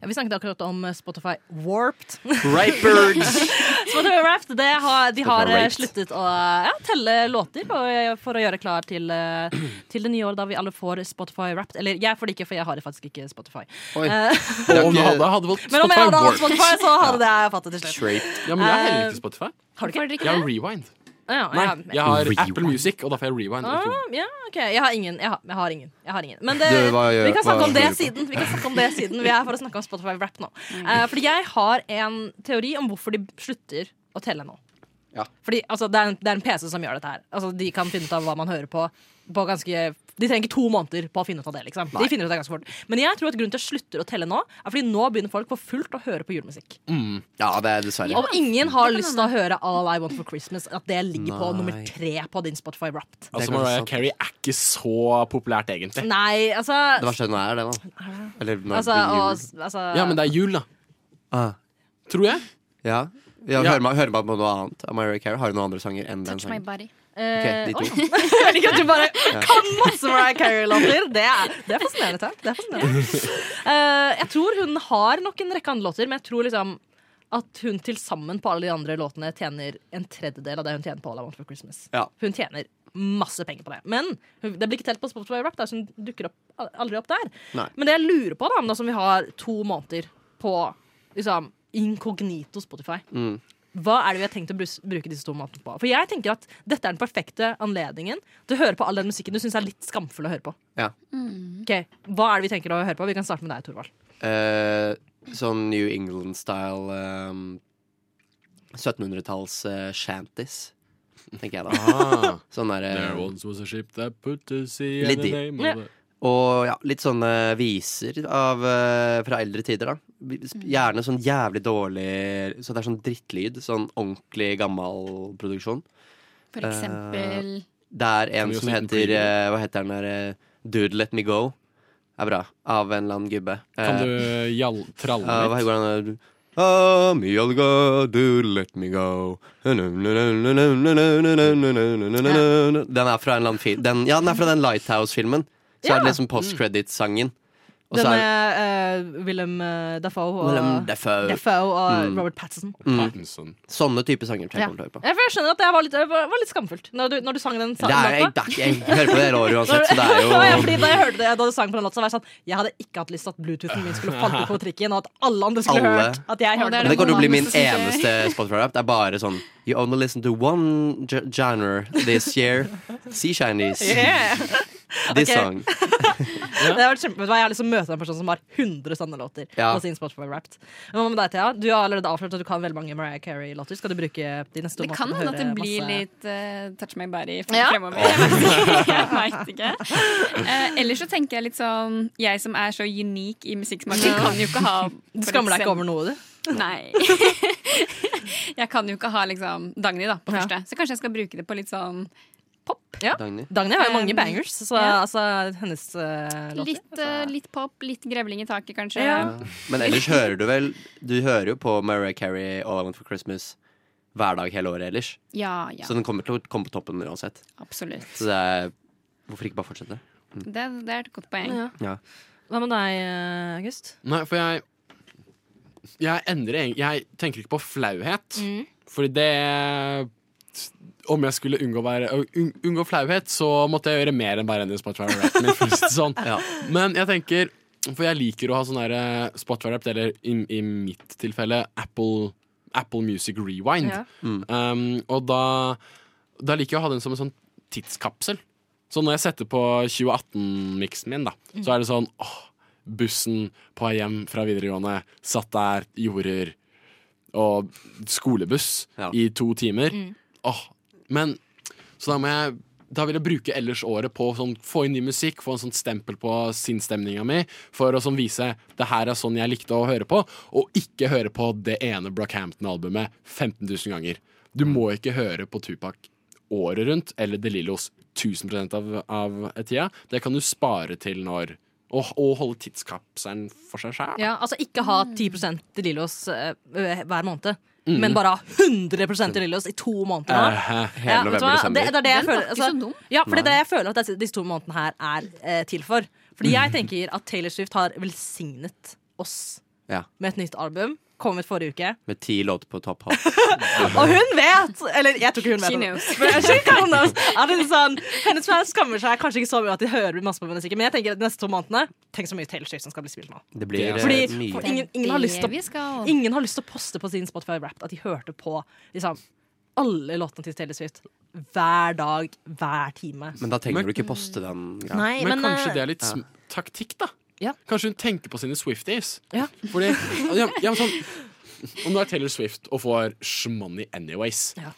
Ja, vi snakket akkurat om Spotify Warped.
Rapers!
Spotify Wrapped det har, de har
Spotify
eh,
Wrapped.
sluttet å ja, telle låter og, eh, for å gjøre klar til, eh, til det nye året da vi alle får Spotify Wrapped. Eller jeg får det ikke, for jeg har faktisk ikke Spotify.
Oi.
Eh,
Det er
Om du
ikke-
hadde, hadde valgt
men om jeg
Spotify
hadde hatt
Warped
Spotify, så hadde jeg fattet det til slutt.
Straight.
Ja, men jeg har heller
Eh,
ikke Spotify.
Har du ikke?
Jeg har Rewind.
Ja,
Nei,
ja,
jeg har Apple Music, og derfor har jeg Rewind. Altså,
Ah, ja, ok. Jeg har ingen. Jeg har, jeg har ingen. Jeg har ingen. Men det,
Du, hva gjør-
vi kan snakke
hva
om det
hører du på?
siden. Vi kan snakke om det siden Vi er for å snakke om Spotify Wrap nå. Eh, fordi jeg har en teori om hvorfor de slutter å telle nå.
Ja.
Fordi altså, det, er en, det er en PC som gjør dette her. Altså, de kan finne ut av hva man hører på. på ganske, de trenger ikke to måneder på å finne ut av det. Liksom. De finner ut av det ganske fort Men jeg tror at grunnen til at jeg slutter å telle nå, er fordi nå begynner folk for fullt å høre på julemusikk.
Ja, det er dessverre.
Og ingen har lyst til å høre All I Want for Christmas, at det ligger på
Nei.
nummer tre på din Spotify Wrapped.
Altså,
kanskje
Mariah
sant.
Carey er ikke så populært, egentlig.
Nei,
Det
altså
verste nå er det, da. Eller nå er
Altså,
det jul.
og, altså
Ja, men det er jul, da.
Ah,
Tror jeg.
Ja. Ja,
Ja.
Hører man, hører man på noe annet? Mariah Carey har jo noen andre sanger enn den
Touch my
sangen.
body.
Ok,
eh,
de
oi,
to.
Jeg liker at du bare kan masse Mariah Carey-låter. Det, er- det er fascinerende. Ted. Det er fascinerende. Eh, jeg tror hun har nok en rekke andre låter, men jeg tror liksom at hun til sammen på alle de andre låtene tjener en tredjedel av det hun tjener på All I Want for Christmas.
Ja.
Hun tjener masse penger på det. Men hun, det blir ikke telt på Spotify Rap, da, så hun dukker opp, aldri opp der.
Nei.
Men det jeg lurer på, da, nå som vi har to måneder på liksom, inkognito Spotify
Mm.
Hva er det vi har tenkt å brus- bruke disse to månedene på? For jeg tenker at dette er den perfekte anledningen til å høre på all den musikken du syns er litt skamfull å høre på.
Ja.
Ok, Hva er det vi tenker å høre på? Vi kan starte med deg, Torvald.
Eh, sånn New England-style ehm, 1700-talls eh, shanties, tenker jeg da.
Ah.
Sånn der, eh,
There once was a ship that put to sea
Litt
and the
de.
name
Ja.
of it.
og ja, litt sånne viser av, eh, fra eldre tider, da.
Mm.
Gjerne sånn jævlig dårlig Så det er sånn drittlyd. Sånn ordentlig gammel produksjon.
For eksempel
Det er
Kan
en
vi
som
også
heter eh, Hva heter den der eh, Dude Let Me Go. Er bra. Av en eller annen gubbe.
Kan
Eh,
du jall tralle
ja, hva
litt?
går den der? Ah, me all go, dude, let me go. Den er fra en eller annen film den, Ja, den er fra den Lighthouse-filmen. Så er
Ja.
det liksom post-credit-sangen. Og så
Den
er
med eh, Willem eh, Dafoe og
Willem Dafoe.
Dafoe og
Mm.
Robert Pattinson.
mm,
Pattinson.
Sånne type sanger tror
Ja.
jeg kommer til å høre på.
Ja, for jeg skjønner at det var litt, var litt skamfullt når du, når du sang den sa-
Det er, jeg,
låta.
det er ikke- jeg hører på det hele året uansett, så det er jo
Ja, fordi da jeg hørte det da du sang på den låta, så var jeg sånn Jeg hadde ikke hatt lyst til at Bluetoothen min skulle falt ut på trikken, og at alle andre skulle
Alle.
hørt at jeg
Å, det
hørte
er
Men det kommer til å bli min
Noen andre som
eneste Spotify-rap. Det er bare sånn You only listen to one ge- genre this year. Sea Chinese.
Yeah.
This
Ok.
song.
Det har vært kjempe, vet du hva, Jeg har lyst til å møte en person som har 100 sånne låter.
Ja.
På sin Spotify Wrapped. Men hva med deg, Thea? Du har allerede avslørt at du kan veldig mange Mariah Carey-låter. Skal du bruke de neste
Det kan hende at det blir
masse-
litt eh, touch my body
Ja.
fremover. Jeg veit ikke. Eh, ellers så tenker jeg litt sånn Jeg som er så unik i musikksmaken, kan jo ikke ha
Du skammer deg ikke over noe, du?
Nei. jeg kan jo ikke ha liksom Dagny da, på
Ja.
første, så kanskje jeg skal bruke det på litt sånn
Dagny.
Dagny har jo mange
Um,
bangers, så
ja.
altså, hennes eh, låter.
Litt, eh, litt pop, litt grevling i taket, kanskje.
Ja.
Men ellers hører du vel Du hører jo på Mariah Carey All I Want for Christmas hver dag hele året ellers.
ja, ja,
Så den kommer til å komme på toppen uansett.
absolutt.
Sånn- Så det er Hvorfor ikke bare fortsette?
Det, det er et godt poeng.
Ja.
Ja.
Hva med deg, eh, August?
Nei, for jeg Jeg endrer egentlig Jeg tenker ikke på flauhet. Fordi det Om jeg skulle unngå, å være, å un, unngå flauhet, så måtte jeg gjøre mer enn bare endre Spotify-rappen min. for å si det sånn.
Ja.
Men jeg tenker For jeg liker å ha sånn derre Spotify-rap, eller i, i mitt tilfelle Apple, Apple Music Rewind.
Ja.
Um, og da, da liker jeg å ha den som en sånn tidskapsel. Så når jeg setter på 2018-miksen min, da, så er det sånn åh, Bussen på vei hjem fra videregående, satt der, jorder og skolebuss
Ja.
i to timer. Åh, men Så da må jeg da vil jeg bruke ellers året på å sånn, få inn ny musikk, få en sånn stempel på sinnsstemninga mi, for å sånn vise det her er sånn jeg likte å høre på, og ikke høre på det ene Brockhampton-albumet 15 000 ganger. Du må ikke høre på Tupac året rundt, eller De Lillos 1000 av, av tida. Det kan du spare til når Og, og holde tidskapselen for seg sjæl.
Ja, altså ikke ha 10 til Lillos eh, hver måned, men bare ha 100 til Lillos i to måneder. nå.
Mm. Eh,
Eh,
Hele
Ja, vet du
november
hva?
og
Det,
desember.
det er det jeg
Den var
føler,
ikke
altså,
så dum.
Ja, for det er det jeg føler at disse, disse to månedene her er eh, til for. Fordi
Mm.
jeg tenker at Taylor Swift har velsignet oss
Ja.
med et nytt album. Kom ut forrige uke.
Med ti låter på topp halv.
Og hun vet! Eller jeg tror ikke hun vet.
She
det.
knows.
Men she knows. Er det litt sånn, hennes fans skammer seg kanskje ikke så mye at de hører masse på musikken, men jeg tenker at de neste to månedene Tenk så mye Taylor Swift som skal bli spilt nå.
Det blir
Det er-
eh,
Fordi-
mye.
Det er
Ingen- ingen har lyst til å-
det vi skal.
Ingen har lyst til å poste på sin Spotify Wrapped at de hørte på liksom, alle låtene til Taylor Swift hver dag, hver time.
Men da trenger du ikke poste den. greia.
Nei,
Men, kanskje
eh,
det er litt sm taktikk, da.
Ja.
Kanskje hun tenker på sine Swifties.
Ja.
Fordi, ja, ja, men sånn, om du er Taylor Swift og får shmoney anyways,
Ja.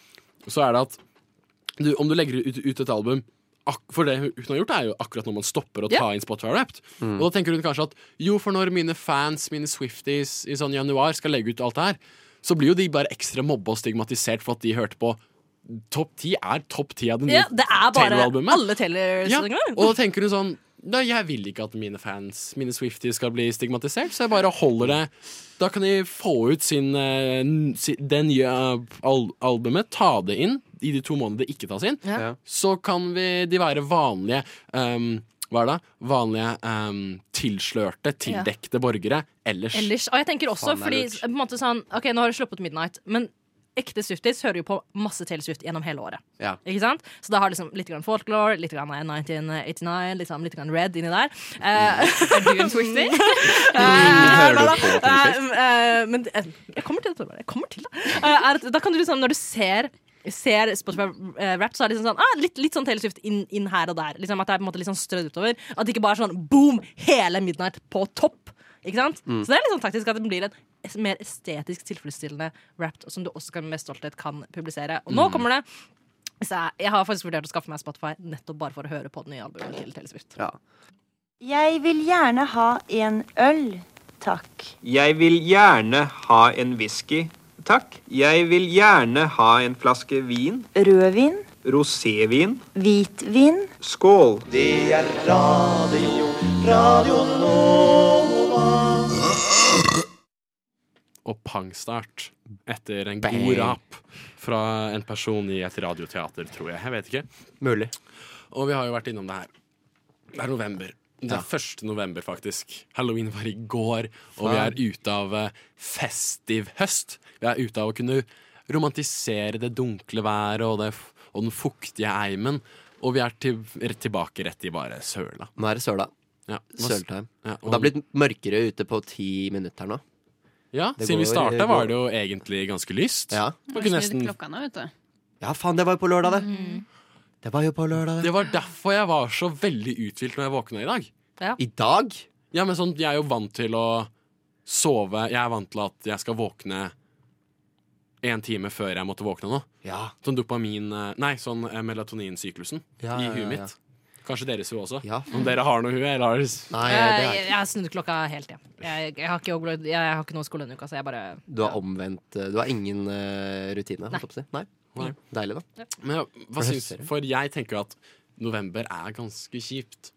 så er det at du, om du legger ut, ut et album ak For det hun har gjort, er jo akkurat når man stopper å ta inn Spotify Wrapped. Og da tenker hun kanskje at jo, for når mine fans, mine Swifties, i sånn januar skal legge ut alt det her, så blir jo de bare ekstra mobba og stigmatisert for at de hørte på Topp 10 er topp 10 av det nye
Ja, det er bare
Taylor-albumet.
alle Taylor-sangene.
Ja, og da tenker du sånn Nei, jeg vil ikke at mine fans, mine Swifties, skal bli stigmatisert, så jeg bare holder det Da kan de få ut sin, eh, n- si- det nye eh, al albumet, ta det inn i de to månedene det ikke tas inn.
Ja.
Så kan vi, de være vanlige ehm, Hva er det? da? Vanlige ehm, tilslørte, tildekte borgere ellers.
Ellers, og jeg tenker også
Faen, det er
fordi
lurt.
på en måte sånn, Ok, nå har du sluppet Midnight, men ekte Swifties hører jo på masse Taylor Swift gjennom hele året.
Ja.
Ikke sant? Så da har liksom litt grann folklore, litt grann 1989, litt, grann- liksom litt grann Red inni der.
Mm.
Eh,
Er du en Swiftie?
Hører du
Nei da.
på Taylor Swift?
Eh, eh, men eh, jeg kommer til det. Torvald, Jeg kommer til det. Eh, er at, da kan du liksom, når du ser Ser Spotify eh, rap, så er det liksom sånn, ah, litt, litt sånn Taylor Swift inn, inn her og der. Liksom at det er på en måte litt sånn strødd utover. At det ikke bare er sånn boom, hele Midnight på topp. Ikke sant?
Mm.
Så det er litt sånn taktisk at det blir en es- mer estetisk tilfredsstillende rap som du også kan med stolthet kan publisere. Og
Mm.
nå kommer det. Så jeg, jeg har faktisk vurdert å skaffe meg Spotify nettopp bare for å høre på det nye albumet til Taylor Swift.
Ja.
Jeg vil gjerne ha en øl, takk.
Jeg vil gjerne ha en whisky, takk. Jeg vil gjerne ha en flaske vin.
Rødvin,
rosévin,
Hvitvin.
skål.
Det er radio,
Radio
og pangstart etter en
Bang.
god rap fra en person i et radioteater, tror jeg. Jeg vet ikke.
eh,
Mulig.
Og vi har jo vært innom det her. Det er november. Det
Ja.
er 1. november, faktisk. Halloween var i går, og vi
Faen.
er ute av eh, festiv høst. Vi er ute av å kunne romantisere det dunkle været og, det, f- og den fuktige eimen. Og vi er til, er tilbake rett i bare søla.
Nå er det søla.
Ja.
Søltime.
Ja,
Og det har blitt mørkere ute på ti minutter nå.
Ja,
Det
siden vi
går-
starta, var
går-
det jo egentlig ganske lyst.
Ja.
Man kunne nesten
klokka nå, vet du.
Ja, faen, det var jo på lørdag, det.
Mm.
Det var jo på lørdag, det.
Det var derfor jeg var så veldig uthvilt når jeg våkna i dag.
Ja.
I dag?
Ja, men sånn, jeg er jo vant til å sove. Jeg er vant til at jeg skal våkne en time før jeg måtte våkne nå.
Ja.
Sånn dopamin eh, Nei, sånn eh, melatoninsyklusen
Ja,
i
ja,
huet
ja, ja.
mitt. Kanskje deres hue også.
Ja.
Om dere har noe hue, eller har
Nei, det
Eh, Jeg,
er
jeg har snudd klokka helt, ja. jeg. Jeg har ikke, overlevd- jeg har ikke noe skole denne uka, så jeg bare
Du har omvendt eh, Du har ingen eh, rutine? holdt jeg på å si. Nei.
Nei.
Deilig, da.
Men hva
For
syns
høstferie.
For jeg tenker jo at november er ganske kjipt.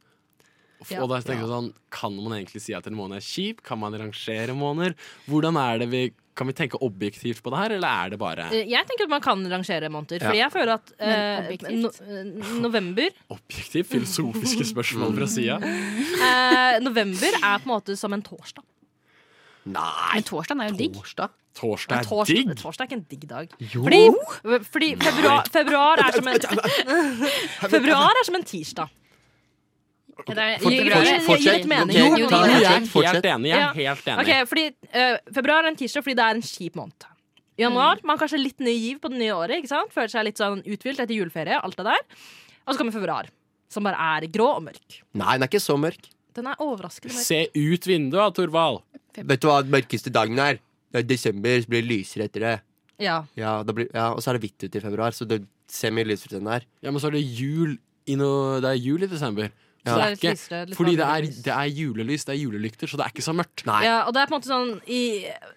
F-
Ja.
Og da tenker jeg sånn, Kan man egentlig si at en måned er kjip? Kan man rangere måneder? Hvordan er det vi, Kan vi tenke objektivt på det her, eller er det bare
Eh, Jeg tenker at man kan rangere måneder, fordi
Ja.
jeg føler at
Men
eh,
objektivt?
no- eh, november
objektivt filosofiske spørsmål fra sida?
eh, November er på en måte som en torsdag.
Nei!
Men torsdagen er jo digg.
Torsdag?
Torsdag
Men
er
torsdag,
digg!
Torsdag er ikke en digg dag.
Jo.
Fordi, fordi februar, februar er som en Februar er som en tirsdag.
Fortsett,
Fortsett,
fortsett.
Jo,
Ok,
jo,
ta
jo,
det.
jeg er helt
Fortsett.
enig. Jeg er helt enig.
Ok, fordi eh, Februar er en tirsdag fordi det er en kjip måned. Januar man har kanskje litt ny giv på det nye året. ikke sant? Føler seg litt sånn uthvilt etter juleferie. alt det der. Og så kommer februar, som bare er grå og mørk.
Nei, den er ikke så mørk.
Den er overraskende mørk.
Se ut vinduet, Torvald.
Vet du hva den mørkeste dagen er? Det er desember, så blir det lysere etter det.
Ja.
Ja, da blir, ja, Og så er det hvitt ute i februar, så det ser mye lysere ut enn det er.
Ja, men så er det jul i noe Det er jul i desember. Så
Ja.
det er
Så det er
ikke,
litt lysere, litt
fordi det er,
vanlig
det er julelys, det er julelykter, så det er ikke så mørkt.
Ja, og det er på en måte sånn i,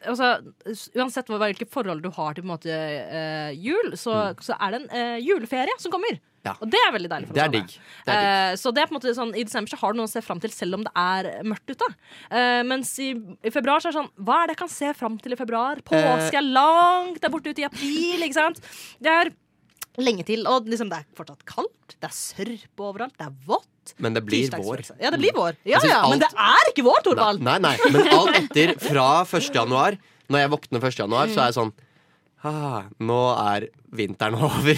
altså, s- Uansett hva, hvilke forhold du har til på en måte, eh, jul, så, så er det en eh, juleferie som kommer.
Mm. Ja.
Og det er veldig deilig. for oss
Det er
alle.
digg. Det er
Eh,
digg.
så det er på en måte sånn, I desember så har du noe å se fram til, selv om det er mørkt ute. Eh, mens i, i februar så er det sånn Hva er det jeg kan se fram til i
Eh.
februar? Påske er langt der borte ute i april. ikke sant? Det er lenge til, og liksom, det er fortsatt kaldt. Det er sørpe overalt. Det er vått.
Men det blir vår.
Tirsdagsfølelse. Ja, det blir vår. Ja,
Jeg synes
ja, Men det
alt-
er ikke vår, Torvald!
Nei, nei, men alt etter fra 1. januar Når jeg våkner 1. januar, så er jeg sånn ah, Nå er vinteren over.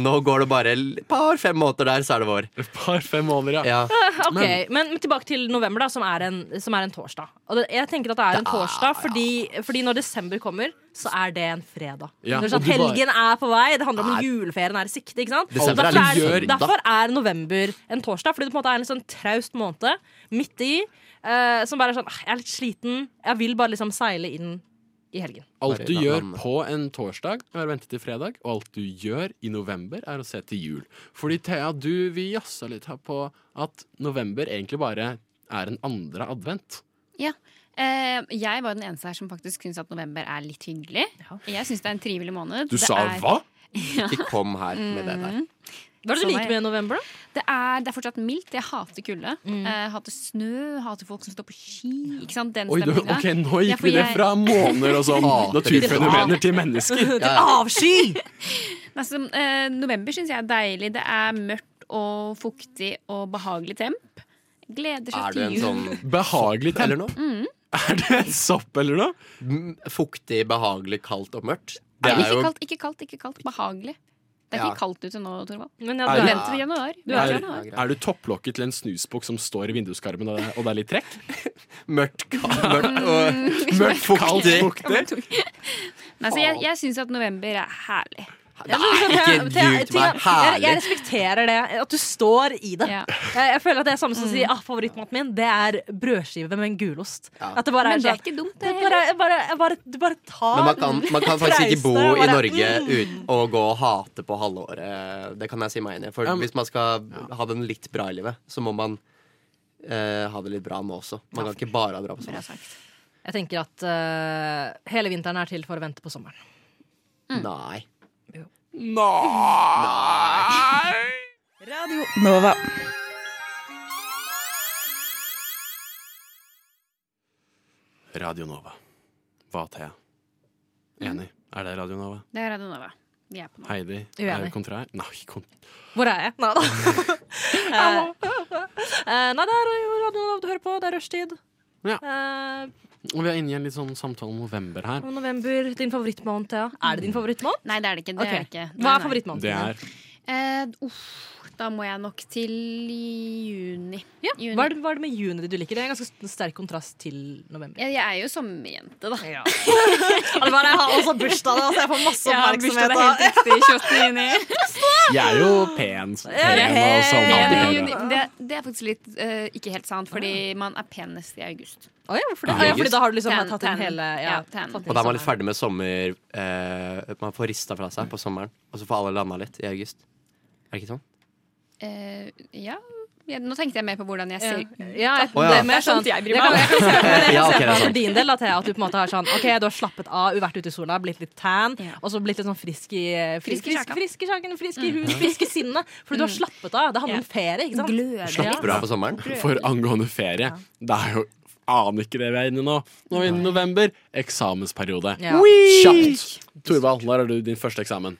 Nå går det bare et par-fem måneder der, så er det vår.
Et par-fem måneder,
ja.
Eh, Ok, men, tilbake til november, da, som er en, som er en torsdag. Og det, jeg tenker at det er en torsdag fordi, fordi når desember kommer, så er det en fredag.
Ja,
Når det er
og
sånn,
du bare-
helgen er på vei, det handler om
Nei.
når juleferien er i sikte. Ikke sant?
Desember er
derfor,
litt
er,
søndag.
derfor er november en torsdag, fordi det på en måte er en sånn traust måned midt i. eh, som bare er sånn «Ah, Jeg er litt sliten, jeg vil bare liksom seile inn i helgen.
Alt du
Bare
gjør
landet.
på en torsdag, er å vente til fredag, og alt du gjør i november, er å se til jul. Fordi Thea, du, vi jassa litt her på at november egentlig bare er en andre advent.
Ja. Eh, jeg var den eneste her som faktisk syns at november er litt hyggelig. Jeg syns det er en trivelig måned. Det er-
Ikke kom her med det
Hva er
der.
Så
det du
var
liker
jeg-
med november, da?
Det er, det er fortsatt mildt. Jeg hater kulde.
Mm.
Eh, hater snø, hater folk som står på ski. Ikke sant? Den
Oi, du,
stemningen.
ok, Nå
Ja,
gikk
for
vi det
jeg-
fra måneder og sånn naturfenomener til
Til
mennesker.
avsky!
Nei, så, eh, november syns jeg er deilig. Det er mørkt og fuktig og behagelig temp. Gleder seg
Er du
til
en
jul.
sånn
Behagelig
Eller
temp.
noe?
Er det en sopp eller noe?
Mm, Fuktig, behagelig, kaldt og mørkt?
Nei,
Det er
ikke,
jo
kaldt, ikke kaldt, ikke kaldt. Behagelig. Det er
Ja.
ikke kaldt ute nå, Torvald.
Men
Er
ja,
det-
du
Vent til januar. Du er i
Er,
januar.
er du topplokket til en snusbukk som står i vinduskarmen, og det, og det er litt trekk?
mørkt, kaldt, mørkt og mørkt
Kaldt
fuktig.
fuktig?
Nei, så jeg, jeg syns at november er herlig.
Nei, ikke ljug til
Jeg, jeg
meg. Herlig.
respekterer det. At du står i det.
Ja.
Jeg, jeg føler at det er samme som å si ah, favorittmaten min det er brødskive med en gulost.
Ja.
At det bare
Men
er
det er
sånn
ikke dumt,
det
det heller.
bare, bare, bare, Du bare tar
Men man kan, man kan faktisk ikke bo
Reiste,
i
bare,
Norge uten å gå og hate på halvåret. Det kan jeg si meg enig i. For
Ja, men-
hvis man skal ha det litt bra i livet, så må man eh, ha det litt bra nå også. Man kan ikke bare ha det bra på
Bra
sommeren.
sagt.
Jeg tenker at eh, hele vinteren er til for å vente på sommeren.
Nei.
Nei!
Radio Nova.
Radio Nova. Hva, Thea? Enig. Er det Radio Nova?
Det er Radio Nova. Vi er på nå.
Heidi?
Uenig.
eh, Kontrær? Nei, kon
Hvor er jeg? Nei da. Eh, nei, det er jo Radio Nova du hører på. Det er rushtid.
Ja.
Eh,
Og vi er inne i en litt sånn samtale om november her.
om november, din favorittmåned, Thea. Er det din favorittmåned?
Nei, det er det ikke. Det
Ok.
er det ikke. Nei,
Hva er
nei.
favorittmåneden?
Det er
Eh, uff, da må jeg nok til juni.
Ja,
Juni.
Hva er, det, hva er det med juni du liker? Det er en ganske sterk kontrast til november.
Jeg, jeg er jo sommerjente, da.
Ja. det var det, jeg har også bursdag, da, så jeg får masse oppmerksomhet.
Ja, bursdag er helt riktig. 28. juni.
Jeg er jo pen, pen og sånn
Pen Eh, i
sommerjente.
juni. Det, det er faktisk litt eh, ikke helt sant, fordi man er penest i august.
Å ja, hvorfor det?
Ja,
Å ja, fordi da har du liksom
Tan-
tatt inn
tan.
hele ja,
Ja, tan.
tatt inn
Og da er man litt
sommeren.
ferdig med sommer eh, Man får rista fra seg på sommeren, og så får alle landa litt i august. Er det ikke sånn?
Eh, ja. ja. Nå tenkte jeg mer på hvordan jeg ser ut. da.
Ja, jeg,
Å ja.
det,
Det
men
er
jeg skjønner
sånt jeg bryr
det
meg
kan-
om.
jeg kan se for meg- jeg kan
Ja,
se for meg
ok, det er sånn. sant.
for sånn din del da, Thea, at du på en måte har sånn Ok, du har slappet av, vært ute i sola, blitt litt tan, og så blitt litt sånn frisk i
Frisk
Frisk,
i
frisk,
kjakan.
frisk i sjaken, frisk i huden, frisk i sinnet. Fordi du har slappet av. Det handler om ferie, ikke sant?
Slapp
Bra på sommeren.
For angående ferie, det er jo Aner ikke det vi er inne i nå. Nå er vi inne i november. Eksamensperiode.
Ja.
Kjapt! Torvald, når har du din første eksamen?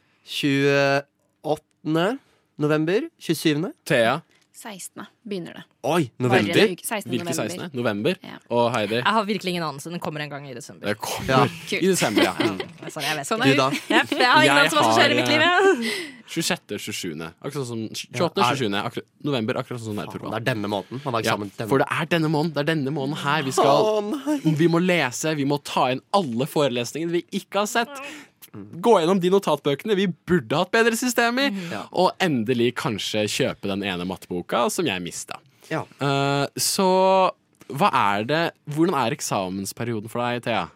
28. november? 27.
Thea?
16. begynner det.
Oi,
Bare
november!
en uke. 16.
Hvilken
november.
16.? November? Og Heidi?
Jeg har virkelig ingen anelse. Den kommer en gang i desember.
Det kommer i desember, ja. Mm.
Sorry, jeg vet
Sånn
ikke.
er
Du, da?
Jepp, Jeg har ingen
Jeg
anelse om hva som skjer
har,
i mitt liv.
eh,
jeg.
26. 27. Akkurat sånn som
Ja,
28.
er-
27. Akkurat, november, akkurat sånn som det er,
Det
Torvald.
er denne måneden. Man har
Ja,
eksamen denne
for det er denne måneden Det er denne måneden her vi skal Vi må lese, vi må ta inn alle forelesningene vi ikke har sett.
Mm.
Gå gjennom de notatbøkene vi burde hatt bedre system i. Og endelig kanskje kjøpe den ene matteboka som jeg mista.
Ja.
Eh, så hva er det Hvordan er eksamensperioden for deg, Thea?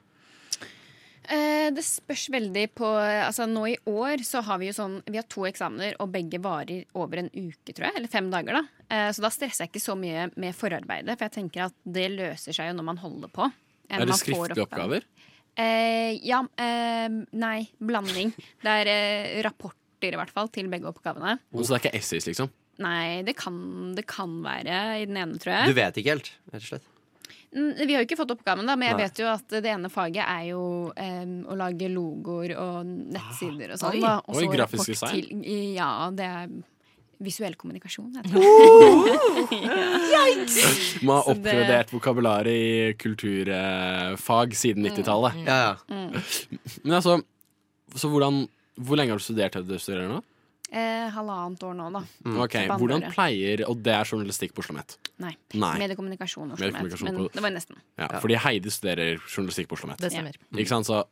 Eh, det spørs veldig på Altså Nå i år så har vi jo sånn Vi har to eksamener, og begge varer over en uke, tror jeg. Eller fem dager, da. Eh, så da stresser jeg ikke så mye med forarbeidet, for jeg tenker at det løser seg jo når man holder på. enn
Er
man
det
får
skriftlige
oppgaven.
oppgaver?
Eh, ja. Eh, nei, blanding. Det er eh, rapporter, i hvert fall, til begge oppgavene.
Så det er ikke essays, liksom?
Nei, det kan, det kan være i den ene, tror jeg.
Du vet ikke helt, rett og slett.
Mm, Vi har jo ikke fått oppgaven, da, men jeg
Nei.
vet jo at det ene faget er jo em, å lage logoer og nettsider
Oi.
og sånn. da. Og
Ah, Oi,
så
grafisk
rapport
design.
til- ja, det er visuell kommunikasjon, heter det.
Man har
Så det-
oppgradert vokabularet i kulturfag
Mm,
siden 90-tallet.
Ja, ja.
Men altså, så hvordan Hvor lenge har du studert til du studerer nå?
Eh, halvannet år nå, da.
Mm, Ok,
på andre
Hvordan
året.
pleier Og det er journalistikk på Oslo Met.
Nei.
Nei.
Mediekommunikasjon. Oslo Met,
Mediekommunikasjon
Men
på-
det var nesten.
Ja, Fordi Heidi studerer journalistikk på Oslo Met.
Det stemmer.
Ikke sant, så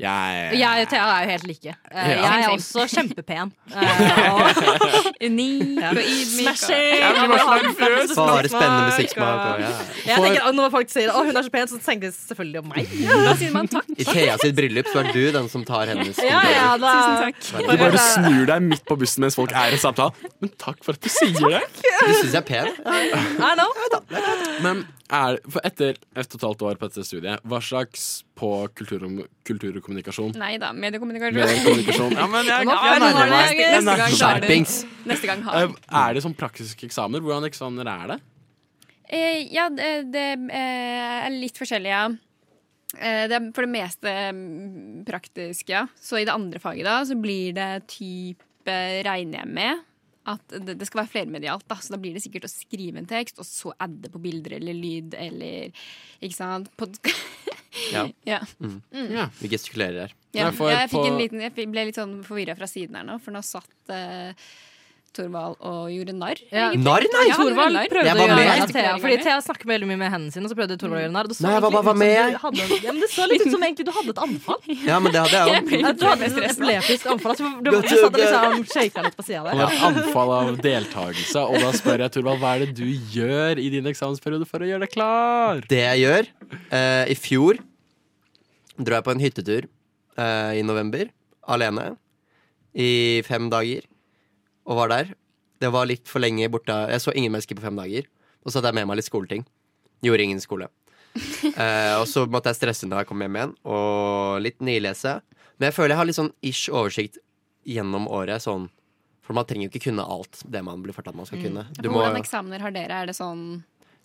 jeg
Jeg og Thea er jo helt like. Eh,
Ja.
Jeg er også
Same,
kjempepen. Eh, og-
Unik
Ja.
og ydmyk. og-
Smashing! og har fantastisk
Bare spennende
musikksmak,
musikksmak.
og-
Og, ja.
Jeg tenker at Når folk sier 'Å, hun er så pen', så tenker de selvfølgelig om meg.
Da sier man takk.
I Thea sitt bryllup så er du den som tar hennes
Ja, ja, da.
Tusen takk.
Du bare snur deg midt på bussen mens folk er i samtale. Men takk for at du sier det!
Du syns jeg er pen?
I know.
Men er, for etter et og et halvt år på dette studiet, hva slags på kultur, og- kultur og kommunikasjon?
Nei da,
Med
mediekommunikasjon.
kommunikasjon Ja, men jeg,
Nå
jeg,
får
nærmer
du
meg.
det.
Jeg
Neste gang
nærmer
så
meg.
er det-
Skjerpings.
Neste gang har
Eh, Er det sånn praktiske eksamener? Hvordan eksamener er det?
Eh, ja, det, det eh, er litt forskjellig, ja. Eh, det er for det meste mm, praktisk, ja. Så i det andre faget da, så blir det type regner jeg med. At det, det skal være flermedialt, da, så da blir det sikkert å skrive en tekst, og så adde på bilder eller lyd eller Ikke sant? Pod
Ja,
ja.
Ja.
vi gestikulerer her.
Nei,
ja.
for
jeg, fikk en
på-
liten, jeg fikk- ble litt sånn forvirra fra siden her nå, for nå satt eh, Torvald og gjorde narr.
Ja.
egentlig.
Narr, nei!
Ja, han gjorde
Torvald
narr.
prøvde
Jeg
å
var
gjøre
med.
narr av Thea. Fordi Thea snakker veldig mye med hendene sine, og så prøvde Torvald å gjøre narr. og Det så
Nei, jeg var
egentlig
bare
ut som
med.
du hadde- ja, men det så litt ut som egentlig du hadde et anfall.
Ja, men det hadde jeg òg.
At Du hadde et epileptisk anfall. at Du, du, du satt og liksom shaket litt på sida der.
Han har anfall av deltakelse, og da spør jeg Torvald hva er det du gjør i din eksamensperiode for å gjøre deg klar?
Det jeg gjør eh, I fjor dro jeg på en hyttetur eh, i november alene i fem dager og var der. Det var litt for lenge borte. Jeg så ingen mennesker på fem dager. Og så hadde jeg med meg litt skoleting. Gjorde ingen skole. Eh, og så måtte jeg stresse når jeg kom hjem igjen, og litt nylese. Men jeg føler jeg har litt sånn ish oversikt gjennom året sånn For man trenger jo ikke kunne alt det man blir fortalt man skal kunne. Du må-
Hvordan eksamener har dere? Er det sånn